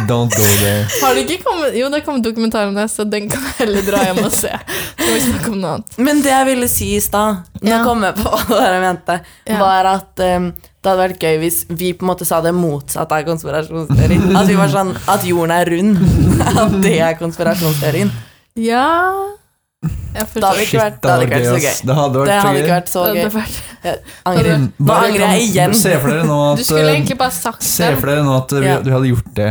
Speaker 2: Don't go there.
Speaker 1: Har det ikke kommet Jo, det kom en dokumentar om det, så den kan jeg heller dra hjem og se. Så må vi snakke om noe annet.
Speaker 3: Men det jeg ville si i stad, nå
Speaker 1: Ja.
Speaker 3: kom jeg på hva dere mente,
Speaker 1: Ja.
Speaker 3: var at um, det hadde vært gøy hvis vi på en måte sa det motsatte av konspirasjonsteorien. At vi var sånn At jorden er rund. At det er konspirasjonsteorien.
Speaker 1: Ja Jeg
Speaker 3: Da hadde
Speaker 1: forstår.
Speaker 3: det ikke vært,
Speaker 2: Shit,
Speaker 3: det hadde ikke vært så
Speaker 2: ass.
Speaker 3: gøy.
Speaker 2: Det
Speaker 1: Det
Speaker 2: Mm. hadde vært så gøy.
Speaker 3: Det hadde ikke vært så gøy.
Speaker 1: hadde vært-
Speaker 3: Angrer. Nå
Speaker 2: Bare
Speaker 3: angrer jeg
Speaker 2: kan-
Speaker 3: igjen.
Speaker 2: Se for dere nå at, eh,
Speaker 1: Du skulle egentlig bare sagt
Speaker 2: se
Speaker 1: det.
Speaker 2: for dere nå at vi,
Speaker 3: Ja.
Speaker 2: du hadde gjort det.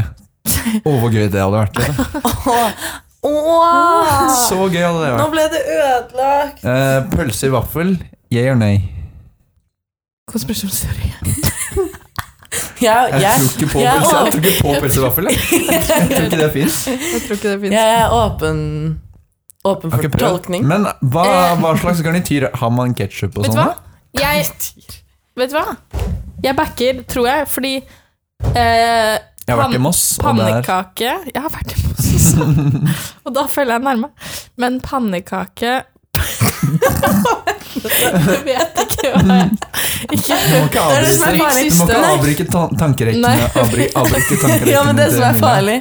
Speaker 2: Å, hvor gøy det hadde vært. Liksom.
Speaker 3: Åh. Åh.
Speaker 2: Så gøy hadde det
Speaker 3: Nå
Speaker 2: vært.
Speaker 3: ble det ødelagt.
Speaker 2: Eh, pølse i vaffel, yeah or nay?
Speaker 1: Konspirasjonsteori.
Speaker 3: Jeg,
Speaker 2: Jeg
Speaker 3: jeg,
Speaker 2: tror ikke på
Speaker 3: jeg,
Speaker 2: pølse, jeg
Speaker 3: er
Speaker 2: tror ikke på pølse i vaffel. Jeg Jeg tror ikke det fins.
Speaker 1: Jeg tror ikke det
Speaker 3: åpen-
Speaker 1: finnes
Speaker 3: jeg er åpen, åpen for tolkning.
Speaker 2: Men hva,
Speaker 1: Eh.
Speaker 2: hva slags garnityr har man ketsjup og
Speaker 1: Vet du
Speaker 2: sånn?
Speaker 1: hva?
Speaker 2: da?
Speaker 1: Jeg Vet du hva? Jeg backer, tror jeg, fordi eh,
Speaker 2: Jeg har
Speaker 1: Pan-
Speaker 2: vært i Moss, og det er
Speaker 1: pannekake Jeg har vært i Moss også, og da følger jeg nærme. Men pannekake Jeg vet ikke hva jeg ikke,
Speaker 2: Du må ikke
Speaker 3: Det er det som er
Speaker 2: avbryte, du
Speaker 3: farlig.
Speaker 2: må ikke
Speaker 3: Nei.
Speaker 2: avbryte tan
Speaker 1: Nei.
Speaker 2: tankerekkene. Avbry avbryte tankerekkene
Speaker 3: Ja, men det som er
Speaker 2: til-
Speaker 3: farlig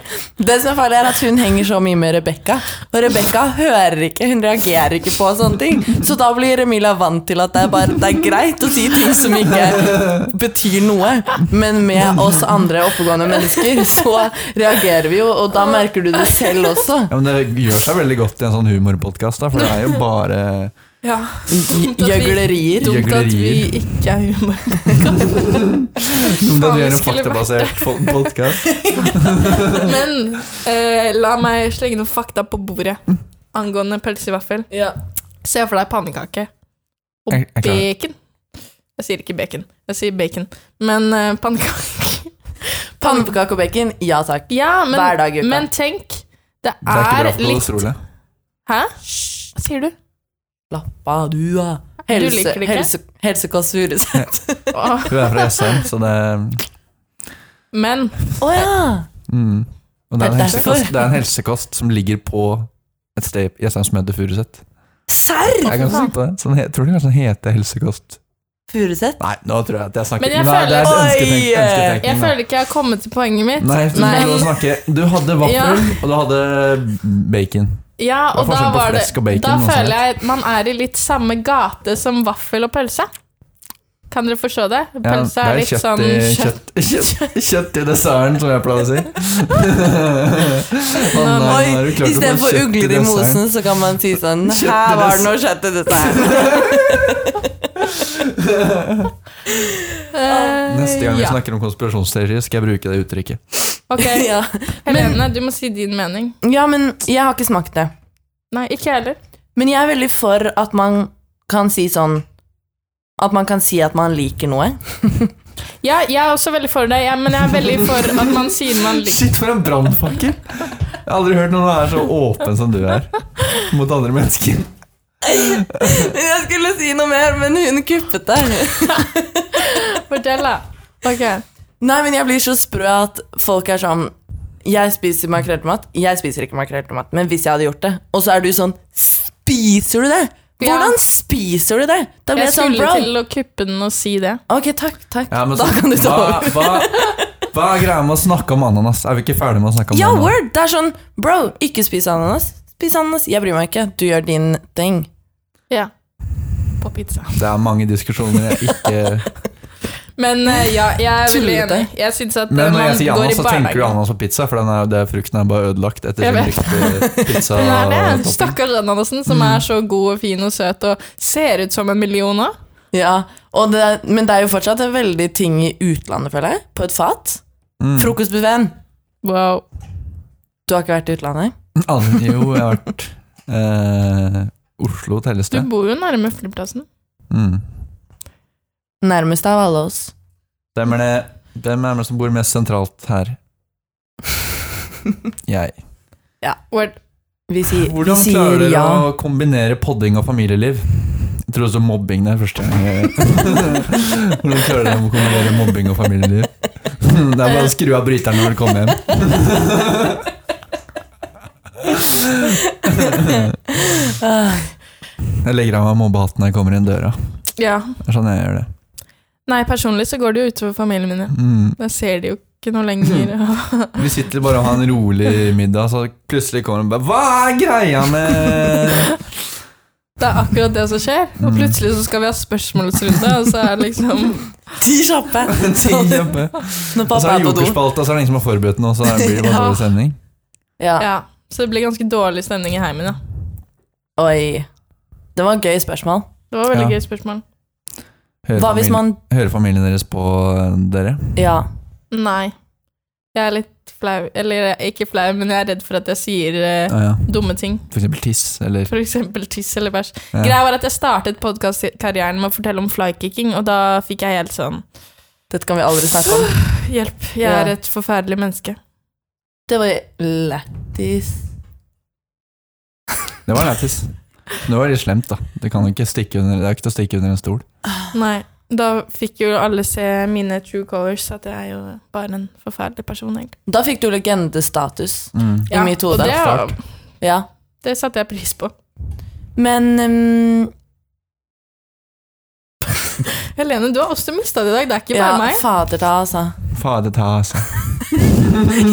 Speaker 3: Det som er farlig er at hun henger så mye med Rebekka. Og Rebekka hører ikke, hun reagerer ikke på sånne ting. Så da blir Emilia vant til at det er, bare, det er greit å si ting som ikke betyr noe. Men med oss andre oppegående mennesker så reagerer vi jo, og da merker du det selv også.
Speaker 2: Ja, men Det gjør seg veldig godt i en sånn humorpodkast, da, for det er jo bare
Speaker 1: ja.
Speaker 3: J- Gjøglerier.
Speaker 1: Dumt at vi
Speaker 2: Gjøglerier.
Speaker 1: ikke er humor.
Speaker 2: Om det
Speaker 1: Faen,
Speaker 2: gjør en
Speaker 1: det skulle
Speaker 2: faktabasert podkast.
Speaker 1: Men eh, la meg slenge noen fakta på bordet
Speaker 2: Mm.
Speaker 1: angående pølse i vaffel.
Speaker 3: Ja.
Speaker 1: Se for deg pannekake og
Speaker 2: Jeg- jeg klarer.
Speaker 1: bacon. Jeg sier ikke bacon, jeg sier bacon. Men eh, pannekake
Speaker 3: Pannekake og bacon, ja takk.
Speaker 1: Ja, men,
Speaker 3: Hver dag i uka.
Speaker 1: men tenk, det
Speaker 2: Det er ikke
Speaker 1: er,
Speaker 2: bra for
Speaker 1: litt
Speaker 2: kolesterol.
Speaker 1: Hæ? Hva sier du?
Speaker 3: Slapp av, du, da.
Speaker 1: Du
Speaker 3: Helse,
Speaker 1: liker det ikke?
Speaker 3: helse, Helsekåss Furuseth.
Speaker 1: Åh,
Speaker 2: Hun er fra SM, så det
Speaker 1: Men
Speaker 3: Å ja!
Speaker 2: mm. Og det er, en
Speaker 3: Det er derfor.
Speaker 2: helsekost, det er en helsekost som ligger på et sted i SM som heter Furuset.
Speaker 3: Serr!
Speaker 2: Jeg er ganske sikker på det. Så den he- tror du kanskje den heter helsekost
Speaker 3: Furuseth?
Speaker 2: Nei, nå tror jeg at jeg snakker
Speaker 1: Men jeg
Speaker 2: Nei, det er
Speaker 3: føler-
Speaker 2: ønsketenk,
Speaker 3: Oi!
Speaker 2: ønsketenkning,
Speaker 1: jeg
Speaker 2: da.
Speaker 1: føler ikke jeg har kommet til poenget mitt.
Speaker 2: Nei, altså, du
Speaker 1: Nei.
Speaker 2: må snakke. Du hadde vaffel,
Speaker 1: Ja.
Speaker 2: og du hadde bacon.
Speaker 1: Ja, og da
Speaker 2: Hva er forskjellen på
Speaker 1: var det
Speaker 2: flesk og bacon,
Speaker 1: Da
Speaker 2: noe
Speaker 1: føler
Speaker 2: sånt?
Speaker 1: jeg at man er i litt samme gate som vaffel og pølse. Kan dere forstå det?
Speaker 2: Ja,
Speaker 1: Pølse er, litt
Speaker 2: kjøtt,
Speaker 1: sånn
Speaker 2: i,
Speaker 1: kjøtt.
Speaker 2: kjøtt, kjøtt, kjøtt i desserten, som jeg pleier å si. Å nei, nå har du
Speaker 3: Oi,
Speaker 2: klart å få
Speaker 3: istedenfor
Speaker 2: kjøtt i
Speaker 3: ugler i
Speaker 2: desserten.
Speaker 3: mosen, så kan man si sånn
Speaker 2: Kjøtt i
Speaker 3: Her var det
Speaker 2: dessert.
Speaker 3: noe kjøtt i dette her.
Speaker 1: Eh,
Speaker 2: Neste gang vi
Speaker 1: ja.
Speaker 2: snakker om konspirasjonsteorier, skal jeg bruke det uttrykket.
Speaker 1: Ok,
Speaker 3: ja.
Speaker 1: Helene, du må si din mening.
Speaker 3: ja, men jeg har ikke smakt det.
Speaker 1: Nei, ikke jeg heller.
Speaker 3: Men jeg er veldig for at man kan si sånn At man kan si at man liker noe.
Speaker 1: Ja, jeg er også veldig for det, ja, men jeg er veldig for at man sier man liker
Speaker 2: Shit, for en brannfakkel! Jeg har aldri hørt noen være så åpen som du er mot andre mennesker.
Speaker 3: Jeg skulle si noe mer, men hun kuppet det.
Speaker 1: Fortell, da. Ok.
Speaker 3: Nei, men jeg blir så sprø at folk er sånn Jeg spiser makrell til mat. Jeg spiser ikke makrell til mat, men hvis jeg hadde gjort det Og så er du sånn Spiser du det?!
Speaker 1: Ja.
Speaker 3: Hvordan spiser du det?! Da blir
Speaker 1: Jeg
Speaker 3: jeg sånn,
Speaker 1: skulle
Speaker 3: bro.
Speaker 1: til å kuppe den og si det.
Speaker 3: Ok, takk, takk.
Speaker 2: Ja, men
Speaker 3: da
Speaker 2: så-
Speaker 3: kan du ta
Speaker 2: hva,
Speaker 3: over.
Speaker 2: hva, hva er greia med å snakke om ananas? Er vi ikke ferdig med å snakke om
Speaker 3: Ja,
Speaker 2: ananas?
Speaker 3: word! Det er sånn Bro, ikke spis ananas. Spis ananas. Jeg bryr meg ikke. Du gjør din ting.
Speaker 1: Ja. På pizza.
Speaker 2: Det er mange diskusjoner jeg ikke
Speaker 1: Men eh, ja, jeg er veldig
Speaker 3: Tullete.
Speaker 1: enig. Jeg syns at eh,
Speaker 2: Men når
Speaker 1: man
Speaker 2: jeg sier
Speaker 1: går i
Speaker 2: ananas, så tenker du
Speaker 1: barnehagen.
Speaker 2: ananas på pizza, for den er, det, frukten er bare ødelagt etter
Speaker 1: Jeg
Speaker 2: sin
Speaker 1: vet.
Speaker 2: riktige pizza.
Speaker 1: Den er det.
Speaker 2: topping.
Speaker 1: Stakkars Ananasen, som
Speaker 2: Mm.
Speaker 1: er så god og fin og søt og ser ut som en million òg.
Speaker 3: Ja, og det, er- Men det er jo fortsatt en veldig ting i utlandet, føler jeg. På et fat.
Speaker 2: Mm.
Speaker 3: Frokostbuffeen.
Speaker 1: Wow.
Speaker 3: Du har ikke vært i utlandet?
Speaker 2: Aldri- Jo, jeg har vært eh, Oslo telles
Speaker 1: Du
Speaker 2: det.
Speaker 1: bor jo nærme flyplassen.
Speaker 2: Mm.
Speaker 3: Nærmest av alle oss.
Speaker 2: Hvem er det Hvem er det som bor mest sentralt her? Jeg.
Speaker 1: Word.
Speaker 3: Vi sier, vi
Speaker 2: Hvordan klarer
Speaker 3: sier
Speaker 2: dere
Speaker 3: ja.
Speaker 2: å kombinere podding og familieliv? Jeg tror også mobbing det er første gang. jeg- Hvordan klarer dere å kombinere mobbing og familieliv? Det er bare å skru av bryteren når dere kommer hjem.
Speaker 3: Ah,
Speaker 2: Jeg legger av meg mobbehatten når jeg kommer inn døra.
Speaker 1: Ja.
Speaker 2: Det er sånn jeg gjør det.
Speaker 1: Nei, personlig så går det jo utover familien min. ja.
Speaker 2: Mm.
Speaker 1: Jeg ser de jo ikke noe lenger.
Speaker 2: Vi sitter bare og har en rolig middag, så plutselig kommer det bare Hva er greia med
Speaker 1: Det er akkurat det som skjer.
Speaker 3: Mm.
Speaker 1: Og plutselig så skal vi ha spørsmålsrunde, og så er det liksom
Speaker 3: Ti kjappe!
Speaker 2: Ti kjappe. Og
Speaker 3: Når
Speaker 2: så
Speaker 3: pappa
Speaker 2: er
Speaker 3: er
Speaker 2: det
Speaker 3: på do.
Speaker 2: jokerspalte, og så er det ingen som har forberedt noe, så blir det bare
Speaker 1: Ja.
Speaker 2: dårlig stemning.
Speaker 3: Ja.
Speaker 1: Ja. Så det blir ganske dårlig stemning i heimen, ja.
Speaker 3: Oi. Det var et gøy spørsmål.
Speaker 1: Det var veldig
Speaker 2: Ja.
Speaker 1: gøy spørsmål.
Speaker 2: Hører,
Speaker 3: Hva hvis
Speaker 2: familien,
Speaker 3: man
Speaker 2: hører familien deres på eh, dere?
Speaker 3: Ja.
Speaker 1: Nei. Jeg er litt flau. Eller jeg er ikke flau, men jeg er redd for at jeg sier eh,
Speaker 2: Ja, ja.
Speaker 1: dumme ting.
Speaker 2: For eksempel tiss, eller
Speaker 1: For eksempel tiss eller bæsj.
Speaker 2: Ja.
Speaker 1: Greia var at jeg startet podkastkarrieren med å fortelle om flykicking, og da fikk jeg helt sånn
Speaker 3: Dette kan vi aldri snakke om.
Speaker 1: Hjelp, jeg er
Speaker 3: Ja.
Speaker 1: et forferdelig menneske.
Speaker 3: Det var lættis.
Speaker 2: Det var lættis. Det var litt slemt, da. Det, kan ikke stikke under, det er ikke til å stikke under en stol.
Speaker 1: Nei. Da fikk jo alle se mine true colors, at jeg er jo bare en forferdelig person, egentlig.
Speaker 3: Da fikk du legendestatus.
Speaker 2: Mm.
Speaker 3: I mitt hode.
Speaker 1: Og det,
Speaker 2: Start.
Speaker 3: Ja.
Speaker 1: det satte jeg pris på.
Speaker 3: Men um,
Speaker 1: Helene, du har også mista det i dag. Det er ikke bare
Speaker 3: ja,
Speaker 1: meg.
Speaker 3: fader da, altså.
Speaker 2: Fader ta, altså.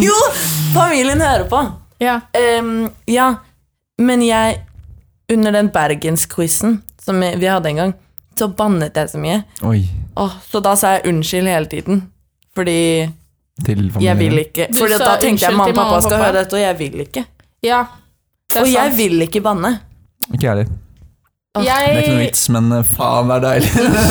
Speaker 3: Jo! Familien hører på.
Speaker 1: Ja.
Speaker 3: Ehm, ja, men jeg Under den Bergens-quizen som vi hadde en gang, så bannet jeg så mye.
Speaker 2: Oi.
Speaker 3: Åh, så da sa jeg unnskyld hele tiden. Fordi
Speaker 2: Til familien.
Speaker 3: jeg vil ikke.
Speaker 1: Du
Speaker 3: Fordi
Speaker 1: sa
Speaker 3: da
Speaker 1: unnskyld
Speaker 3: tenkte jeg mamma
Speaker 1: til
Speaker 3: og pappa
Speaker 1: mamma og
Speaker 3: skal
Speaker 1: pappa.
Speaker 3: høre dette, og jeg vil ikke.
Speaker 1: ja. Det er
Speaker 3: Og jeg
Speaker 1: sant.
Speaker 3: vil ikke banne.
Speaker 2: Ikke jeg heller.
Speaker 3: Åh,
Speaker 2: Det er ikke noe
Speaker 1: Jeg
Speaker 2: vits, men eh, faen, det er deilig.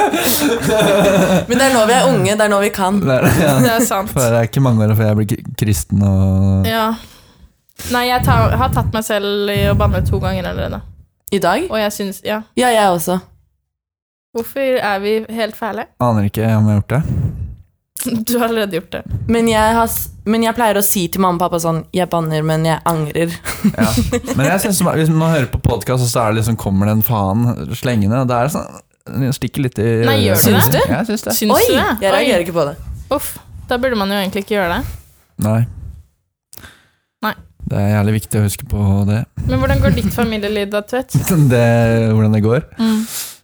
Speaker 3: Men det er nå vi er unge, det er nå vi kan.
Speaker 2: Det er, ja.
Speaker 1: Det er sant.
Speaker 2: For det er ikke mange år før jeg blir k- kristen og
Speaker 1: Ja. Nei, jeg tar, har tatt meg selv i å banne to ganger allerede.
Speaker 3: I dag?
Speaker 1: Og jeg syns Ja.
Speaker 3: Ja, jeg også.
Speaker 1: Hvorfor er vi helt fæle?
Speaker 2: aner ikke om jeg har gjort det.
Speaker 1: Du har allerede gjort det.
Speaker 3: Men jeg, har, s- men jeg pleier å si til mamma og pappa sånn Jeg banner, men jeg angrer.
Speaker 2: Ja. Men jeg synes, hvis man hører på podkast, så er det liksom, kommer den faen slengende. og Det er sånn den stikker litt i
Speaker 1: Nei, gjør
Speaker 3: den
Speaker 2: det? Jeg syns det.
Speaker 1: Syns
Speaker 3: Oi!
Speaker 1: du det?
Speaker 3: Jeg reagerer ikke på det.
Speaker 1: Oi. Uff. Da burde man jo egentlig ikke gjøre det.
Speaker 2: Nei.
Speaker 1: Nei.
Speaker 2: Det er jævlig viktig å huske på det.
Speaker 1: Men hvordan går ditt familieliv da, Tvedt?
Speaker 2: det hvordan det går.
Speaker 1: Mm.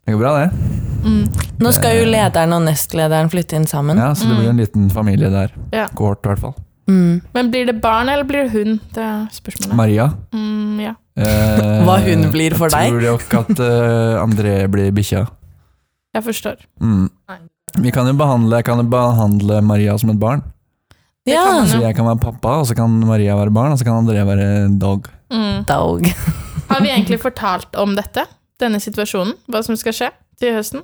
Speaker 2: Det går bra, det.
Speaker 1: Mm.
Speaker 3: Nå skal jo lederen og nestlederen flytte inn sammen.
Speaker 2: Ja, Så det blir en liten familie der.
Speaker 1: Ja.
Speaker 2: Kohort, i hvert fall.
Speaker 3: Mm.
Speaker 1: Men blir det barn eller blir det hund? Det er spørsmålet.
Speaker 2: Maria.
Speaker 1: Mm, ja.
Speaker 2: eh,
Speaker 3: Hva hun blir for deg.
Speaker 2: Tror nok at eh, André blir bikkja.
Speaker 1: Jeg forstår.
Speaker 2: Mm.
Speaker 1: Nei.
Speaker 2: Vi kan jo behandle, jeg kan jo behandle Maria som et barn.
Speaker 1: Det
Speaker 3: Ja.
Speaker 1: kan man
Speaker 2: Så
Speaker 1: jo.
Speaker 2: jeg kan være pappa, og så kan Maria være barn, og så kan André være dog.
Speaker 1: Mm.
Speaker 3: Dog.
Speaker 1: Har vi egentlig fortalt om dette? Denne situasjonen? Hva som skal skje til høsten?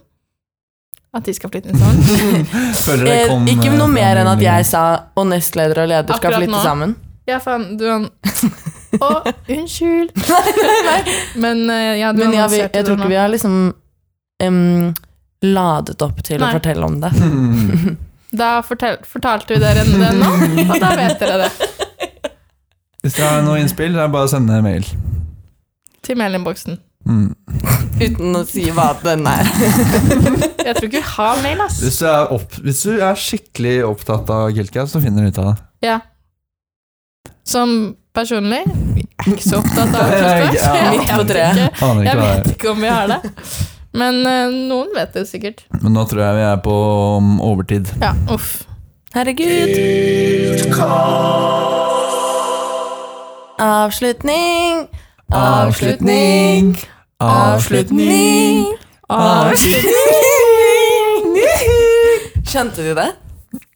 Speaker 1: At de skal flytte inn sammen?
Speaker 2: Føler det
Speaker 3: Eh,
Speaker 2: kom,
Speaker 3: ikke
Speaker 2: eh,
Speaker 3: noe
Speaker 2: fra
Speaker 3: mer enn at
Speaker 2: meldingen.
Speaker 3: jeg sa og nestleder og leder skal
Speaker 1: Akkurat
Speaker 3: flytte
Speaker 1: nå.
Speaker 3: sammen.
Speaker 1: Ja, faen, du han Å, unnskyld! Men eh, ja, du
Speaker 3: Men jeg, jeg,
Speaker 1: annonserte det
Speaker 3: tror ikke
Speaker 1: nå.
Speaker 3: vi har liksom em, ladet opp til
Speaker 1: Nei.
Speaker 3: å fortelle om det.
Speaker 2: Mm.
Speaker 1: Da fortel, fortalte vi dere det nå, og da vet dere det.
Speaker 2: Hvis dere har noe innspill, så er det bare å sende en mail.
Speaker 1: Til mailinnboksen.
Speaker 2: Mm.
Speaker 3: Uten å si hva den er.
Speaker 1: Jeg tror ikke vi har mail, ass.
Speaker 2: Hvis du er, opp, hvis du er skikkelig opptatt av Giltcast, så finner du ut av det.
Speaker 1: Ja. Som personlig jeg er ikke så opptatt av
Speaker 2: Jeg-
Speaker 1: Kirsten.
Speaker 2: ja.
Speaker 1: Jeg
Speaker 3: Midt på
Speaker 1: vet
Speaker 3: treet.
Speaker 1: ikke-
Speaker 2: Aner
Speaker 1: Jeg
Speaker 2: ikke hva det
Speaker 1: vet
Speaker 2: er.
Speaker 1: ikke om vi har det. Men eh, noen vet det sikkert.
Speaker 2: Men nå tror jeg vi er på um, overtid.
Speaker 1: Ja, uff.
Speaker 3: Herregud. Avslutning. Avslutning. Avslutning.
Speaker 1: Ah,
Speaker 3: Skjønte du det?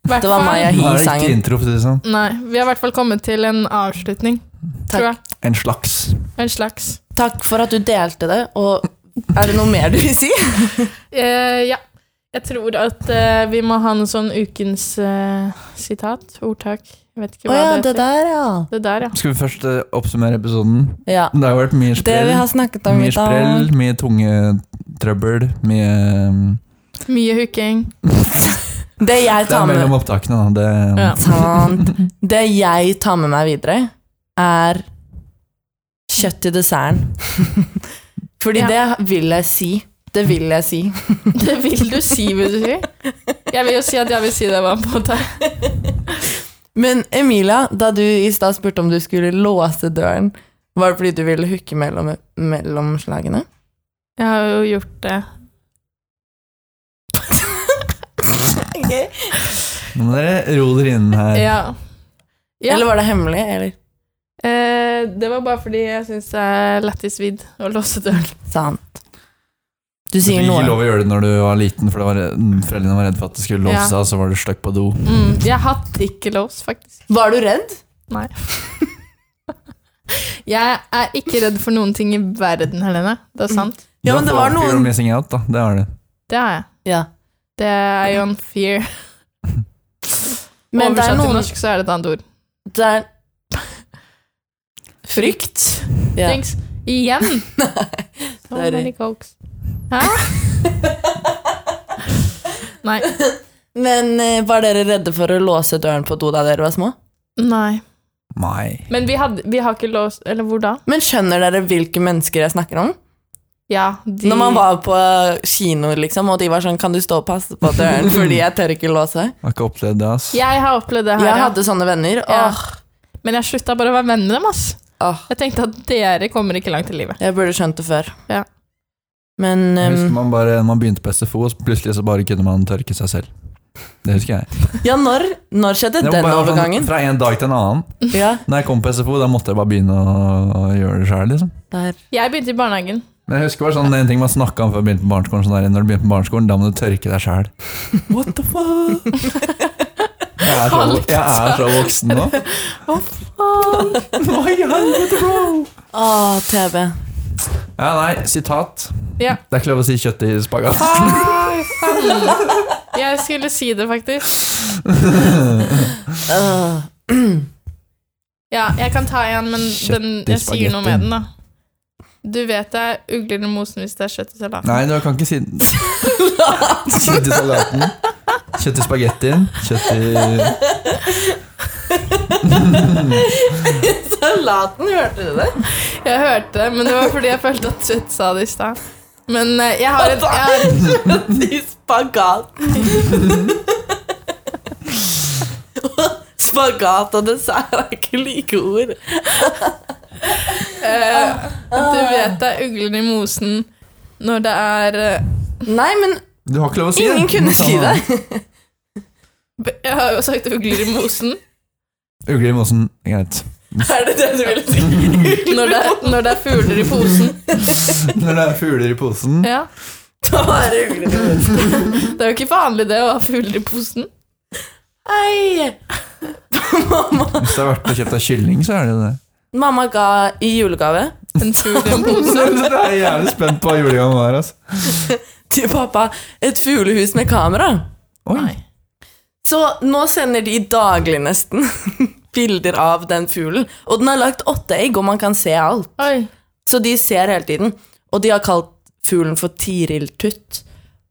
Speaker 1: Hvert
Speaker 3: Det var
Speaker 1: fall-
Speaker 2: Nå er
Speaker 3: Maya i
Speaker 2: det ikke
Speaker 3: sangen.
Speaker 2: intro, for å si det sånn.
Speaker 1: Nei, vi har i hvert fall kommet til en avslutning,
Speaker 3: Takk.
Speaker 1: tror jeg.
Speaker 2: En slags.
Speaker 1: En slags.
Speaker 3: Takk for at du delte det, og er det noe mer du vil si?
Speaker 1: Eh, ja. Jeg tror at eh, vi må ha noe sånn ukens eh, sitat, ordtak. Jeg vet ikke
Speaker 3: Å
Speaker 1: hva
Speaker 3: ja,
Speaker 1: det
Speaker 3: det
Speaker 1: heter.
Speaker 3: der, ja.
Speaker 1: Det der, ja.
Speaker 2: Skal vi først eh, oppsummere episoden?
Speaker 3: ja.
Speaker 2: Det har jo vært mye
Speaker 3: Det
Speaker 2: sprell.
Speaker 3: vi har snakket om i
Speaker 2: Mye sprell,
Speaker 3: dag.
Speaker 2: mye tungetrøbbel, mye um,
Speaker 1: Mye hooking.
Speaker 3: Det jeg
Speaker 2: Det
Speaker 3: tar
Speaker 2: er
Speaker 3: med
Speaker 2: mellom opptakene, da. Det, mm.
Speaker 1: Ja.
Speaker 3: Sant. Det jeg tar med meg videre, er kjøtt til desserten. Fordi det vil jeg si. Det vil jeg si.
Speaker 1: Det vil du si, vil du si? Jeg vil jo si at jeg vil si det var på deg.
Speaker 3: Men Emilia, da du i stad spurte om du skulle låse døren, var det fordi du ville hooke mellom, mellom slagene?
Speaker 1: Jeg har jo gjort det.
Speaker 2: Nå må dere ro dere inn her.
Speaker 1: Ja. Ja.
Speaker 3: Eller var det hemmelig? Eller?
Speaker 1: Eh, det var bare fordi jeg syns det er lættis vidd å låse døren.
Speaker 3: Sant. Du
Speaker 2: Du fikk
Speaker 3: sier
Speaker 2: ikke
Speaker 3: noe.
Speaker 2: lov å gjøre det når du var liten, for det var, mm, foreldrene var redd for at det skulle låse
Speaker 1: Ja.
Speaker 2: seg, og så var du stuck på do.
Speaker 1: Mm, jeg hadde ikke lås, faktisk.
Speaker 3: Var du redd?
Speaker 1: Jeg er ikke redd for noen ting i verden, Helene. Det er sant.
Speaker 3: Ja, men
Speaker 2: Du
Speaker 3: det
Speaker 2: har
Speaker 3: var
Speaker 2: fear of
Speaker 3: noen
Speaker 2: missing out, da. Det har du.
Speaker 1: Det er jeg.
Speaker 3: Ja.
Speaker 1: Det er jo en fear.
Speaker 3: Men det er
Speaker 1: Oversatt til
Speaker 3: noen
Speaker 1: norsk så er det et annet ord.
Speaker 3: det er,
Speaker 1: Frykt.
Speaker 3: ja.
Speaker 1: Thanks. Igjen. So
Speaker 3: sorry.
Speaker 1: many cokes. Hæ? Nei.
Speaker 3: Men eh, var dere redde for å låse døren på do da dere var små?
Speaker 1: Nei.
Speaker 2: Nei.
Speaker 1: Men vi, hadde, vi har ikke låst Eller hvor da?
Speaker 3: Men skjønner dere hvilke mennesker jeg snakker om?
Speaker 1: Ja, de
Speaker 3: Når man var på kino, liksom, og de var sånn 'Kan du stå og passe på døren, fordi jeg tør ikke låse'?
Speaker 2: Har ikke opplevd det, ass.
Speaker 1: Jeg har opplevd det her,
Speaker 3: Jeg
Speaker 1: ja.
Speaker 3: hadde sånne venner.
Speaker 1: Ja.
Speaker 3: Åh,
Speaker 1: Men jeg slutta bare å være venn med dem, ass.
Speaker 3: åh,
Speaker 1: Jeg tenkte at dere kommer ikke langt i livet.
Speaker 3: Jeg burde skjønt det før.
Speaker 1: Ja.
Speaker 3: Men
Speaker 2: Jeg husker
Speaker 3: ehm,
Speaker 2: man bare når man begynte på SFO, og så plutselig så bare kunne man tørke seg selv. Det husker jeg.
Speaker 3: Ja, når, når skjedde
Speaker 2: Det var
Speaker 3: den
Speaker 2: bare sånn
Speaker 3: overgangen?
Speaker 2: Fra en dag til en annen.
Speaker 3: Ja,
Speaker 2: Når jeg kom på SFO, da måtte jeg bare begynne å, å gjøre det sjøl, liksom.
Speaker 3: der.
Speaker 1: Jeg begynte i barnehagen.
Speaker 2: Men jeg husker bare sånn en ting man snakka om før jeg begynte på barneskolen. Sånn der, når du begynner på barneskolen, da må du tørke deg sjæl. What the fuck? Jeg er så, jeg er så voksen nå. Hva i helvete, bro?
Speaker 3: Åh, TV.
Speaker 2: Ja, nei, sitat.
Speaker 1: Ja.
Speaker 2: Det er ikke lov å si kjøtt i spagat.
Speaker 1: Jeg skulle si det, faktisk.
Speaker 3: Åh.
Speaker 1: Ja, jeg kan ta en, men
Speaker 2: Kjøtt
Speaker 1: den,
Speaker 2: i
Speaker 1: jeg sier noe med
Speaker 2: spagetti.
Speaker 1: den, da. Du vet det er ugler i mosen hvis det er kjøtt i salaten.
Speaker 2: Nei, du kan ikke si Kjøtt i salaten. Kjøtt i spagettien. Kjøtt i
Speaker 3: Salaten, hørte du det?
Speaker 1: Jeg hørte det, men det var fordi jeg følte at Kjøtt sa det i stad. Men eh, jeg har et jeg har,
Speaker 3: I spagaten. Spagat og dessert er ikke like ord.
Speaker 1: eh,
Speaker 3: Ah.
Speaker 1: Du vet det er ugler i mosen når det er eh,
Speaker 3: Nei, men
Speaker 2: Du har ikke lov å si det.
Speaker 3: ingen kunne si det.
Speaker 1: b- Jeg har jo sagt ugler i mosen.
Speaker 2: Ugle i mosen. Greit.
Speaker 3: Er det det du ville si?
Speaker 1: Når det, når det er fugler i posen.
Speaker 2: Når det er fugler i posen
Speaker 1: Ja.
Speaker 3: Da var det ugler.
Speaker 1: Det er jo ikke vanlig det å ha fugler i posen.
Speaker 3: Hei!
Speaker 2: Hvis det har vært og kjøpt deg kylling, så er det det.
Speaker 3: Mamma ga i julegave
Speaker 1: En fugl i en
Speaker 2: Så
Speaker 1: pose.
Speaker 2: Jeg er jævlig spent på hva julegaven var. Altså.
Speaker 3: til pappa et fuglehus med kamera.
Speaker 2: Oi.
Speaker 1: Nei.
Speaker 3: Så nå sender de daglig nesten bilder av den fuglen. Og den har lagt åtte egg, og man kan se alt.
Speaker 1: Oi.
Speaker 3: Så de ser hele tiden. Og de har kalt fuglen for Tiriltutt.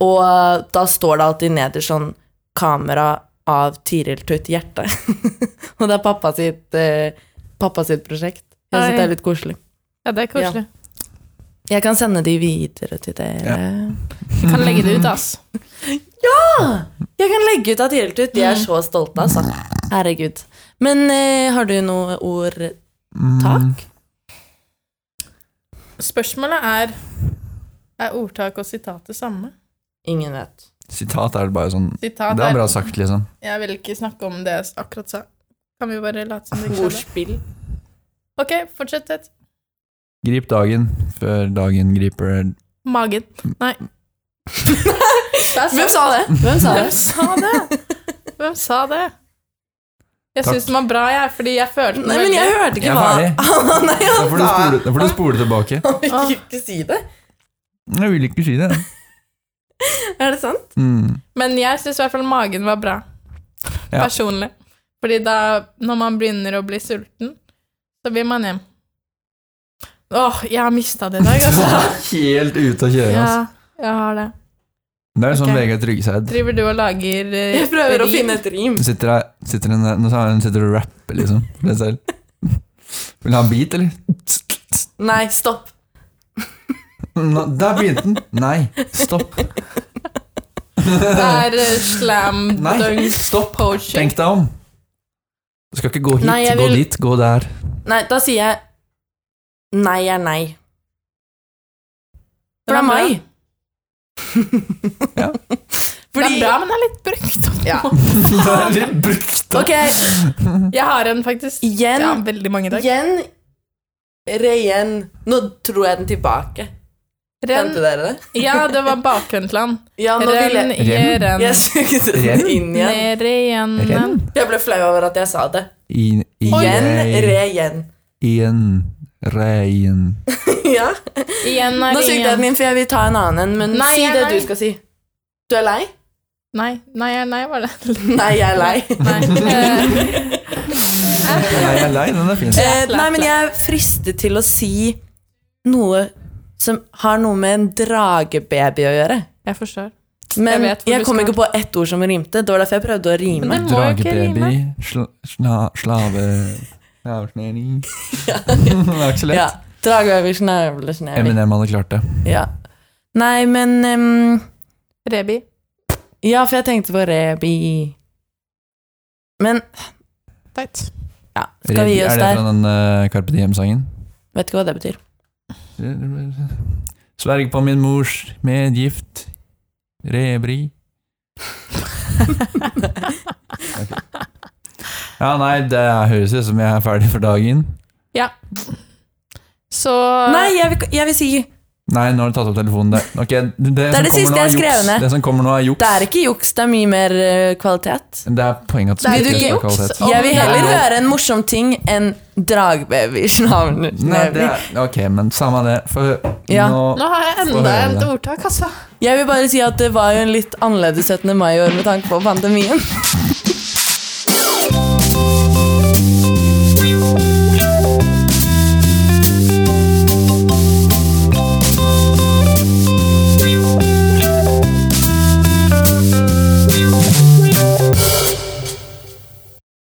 Speaker 3: Og eh, da står det alltid nederst sånn 'kamera av Tiriltutt-hjerte'. og det er pappa sitt, eh, pappa sitt prosjekt. Jeg syns
Speaker 1: Oi.
Speaker 3: det er litt koselig.
Speaker 1: Ja, det er koselig.
Speaker 3: Jeg kan sende de videre til dere.
Speaker 1: Jeg kan legge det ut, ass.
Speaker 3: Ah, Jeg kan legge ut at de helt ut. De er så stolte, altså. Herregud. Men eh, har du noe ord
Speaker 2: Mm.
Speaker 3: takk?
Speaker 1: Spørsmålet er Er ordtak og sitat det samme?
Speaker 3: Ingen vet.
Speaker 2: Sitat er bare sånn
Speaker 1: Sitat
Speaker 2: Det er
Speaker 1: er
Speaker 2: bra sagt, liksom.
Speaker 1: Jeg vil ikke snakke om det jeg akkurat sa. Kan vi bare late som det ikke skjedde?
Speaker 3: Ordspill.
Speaker 1: Ok, fortsett. Ted.
Speaker 2: Grip dagen før dagen griper
Speaker 1: Magen. Nei.
Speaker 3: Hvem sa det? Hvem sa det?
Speaker 1: Hvem sa det? Hvem sa det? Jeg
Speaker 2: Takk.
Speaker 1: syns den var bra, jeg, fordi jeg følte den
Speaker 3: Nei, men jeg hørte
Speaker 2: Jeg
Speaker 3: ikke
Speaker 2: er
Speaker 3: hva
Speaker 2: ferdig.
Speaker 3: Nei,
Speaker 2: Da
Speaker 3: han
Speaker 2: får du
Speaker 3: sa
Speaker 2: spole, da får du spole tilbake.
Speaker 3: Han fikk jo ikke si det.
Speaker 2: Jeg vil ikke si det.
Speaker 3: Er det sant?
Speaker 2: Mm.
Speaker 1: Men jeg syns i hvert fall magen var bra.
Speaker 2: Ja.
Speaker 1: Personlig. Fordi da, når man begynner å bli sulten, så vil man hjem. Åh, jeg har mista det i dag,
Speaker 2: Du
Speaker 1: altså.
Speaker 2: er Helt ute å kjøre,
Speaker 1: Ja,
Speaker 2: altså.
Speaker 1: jeg har det.
Speaker 2: Det er jo sånn
Speaker 1: Ok.
Speaker 2: Vegard Tryggeseid.
Speaker 1: Driver du og lager eh,
Speaker 3: Jeg prøver å
Speaker 1: rim?
Speaker 3: finne et rim.
Speaker 2: Sitter her, sitter en, nå sa han sitter og rapper, liksom. For deg selv. Vil du ha en beat, eller?
Speaker 3: Nei, stopp.
Speaker 2: Nå, der begynte den! Nei, stopp.
Speaker 1: Det er eh, slam
Speaker 2: Nei,
Speaker 1: dunk
Speaker 2: stopp.
Speaker 1: poaching.
Speaker 2: Tenk deg om. Du skal ikke gå hit,
Speaker 3: Nei, jeg
Speaker 2: gå
Speaker 3: vil-
Speaker 2: dit, gå der.
Speaker 3: Nei, da sier jeg nei er nei.
Speaker 1: Den
Speaker 3: Fra
Speaker 1: er bra.
Speaker 3: meg.
Speaker 1: Det
Speaker 2: Ja.
Speaker 1: er
Speaker 3: Fordi
Speaker 1: bra, men det er litt brukt.
Speaker 3: Ja.
Speaker 2: Det er litt brukt opp.
Speaker 3: Ok,
Speaker 1: Jeg har en faktisk
Speaker 3: igjen,
Speaker 1: ja, veldig mange i dag.
Speaker 3: igjen, reigjen. Nå tror jeg den tilbake.
Speaker 1: Renn,
Speaker 3: Kjente dere det?
Speaker 1: ja, det var Bakhøntland.
Speaker 3: Ja, nå vil
Speaker 1: Renn,
Speaker 3: jeg
Speaker 2: Renn.
Speaker 1: gjeren,
Speaker 3: Jeg sugde
Speaker 2: Ren?
Speaker 3: den inn igjen.
Speaker 1: ned igjen.
Speaker 2: Renn.
Speaker 3: Jeg ble flau over at jeg sa det.
Speaker 2: I, i,
Speaker 3: Igjen, reigjen.
Speaker 2: Igjen, reien.
Speaker 3: Ja.
Speaker 1: Igjen
Speaker 3: Nå
Speaker 1: er
Speaker 3: sugde jeg
Speaker 1: igjen.
Speaker 3: den inn, for jeg vil ta en annen en, men
Speaker 1: Nei,
Speaker 3: si
Speaker 1: jeg er
Speaker 3: det
Speaker 1: lei.
Speaker 3: du skal si. Du er lei?
Speaker 1: Nei, nei, nei, var det.
Speaker 3: Nei, jeg er lei.
Speaker 1: Nei. Eh,
Speaker 2: Nei, jeg er lei, den er fin.
Speaker 3: Eh,
Speaker 1: Lett,
Speaker 3: nei,
Speaker 1: lett,
Speaker 3: men jeg er fristet til å si noe som har noe med en dragebaby å gjøre.
Speaker 1: Jeg forstår. Jeg
Speaker 3: Men jeg,
Speaker 1: vet hvor du
Speaker 3: kom
Speaker 1: skal.
Speaker 3: ikke på ett ord som rimte. Det var derfor jeg prøvde å rime.
Speaker 1: Men det må jo ikke
Speaker 2: Dragebaby,
Speaker 1: rime.
Speaker 2: sla, sla, slave Avsnering. Det var ikke så
Speaker 3: Ja,
Speaker 2: lett.
Speaker 3: Dragebaby, snøvle, snøvle.
Speaker 2: Eminem hadde klart det.
Speaker 3: Ja. Nei, men ehm,
Speaker 1: Rebi.
Speaker 3: Ja, for jeg tenkte på rebi. Men
Speaker 1: Teit.
Speaker 3: ja, skal vi gi
Speaker 2: er
Speaker 3: oss
Speaker 2: det
Speaker 3: der?
Speaker 2: fra den eh, Carpe Diem-sangen?
Speaker 3: Vet ikke hva det betyr.
Speaker 2: Sverg på min mors medgift Rebri Ok. Ja, nei, det høres ut som jeg er ferdig for dagen
Speaker 1: Så
Speaker 3: Nei, jeg vil, jeg vil si
Speaker 2: Nei, nå har du tatt opp telefonen der Ok, det,
Speaker 3: er
Speaker 2: som
Speaker 3: det
Speaker 2: kommer
Speaker 3: siste
Speaker 2: nå er
Speaker 3: jeg skrev
Speaker 2: juks.
Speaker 3: ned.
Speaker 2: Det som kommer nå er juks
Speaker 3: Det er ikke juks, det er mye mer eh, kvalitet.
Speaker 2: Det er poenget at
Speaker 1: Det er
Speaker 2: det
Speaker 3: jo
Speaker 2: ikke er
Speaker 1: juks.
Speaker 2: kvalitet
Speaker 1: Om
Speaker 3: Jeg vil
Speaker 1: det
Speaker 3: heller
Speaker 2: er-
Speaker 3: høre en morsom ting enn dragbabys navn.
Speaker 2: Nei, det er, ok, men samme det For
Speaker 3: Ja.
Speaker 2: nå
Speaker 1: Nå har jeg
Speaker 2: Få
Speaker 1: enda
Speaker 2: høre
Speaker 1: et
Speaker 2: det.
Speaker 1: ordtak, altså.
Speaker 3: Jeg vil bare si at det var jo en litt annerledes 17. mai i år med tanke på pandemien.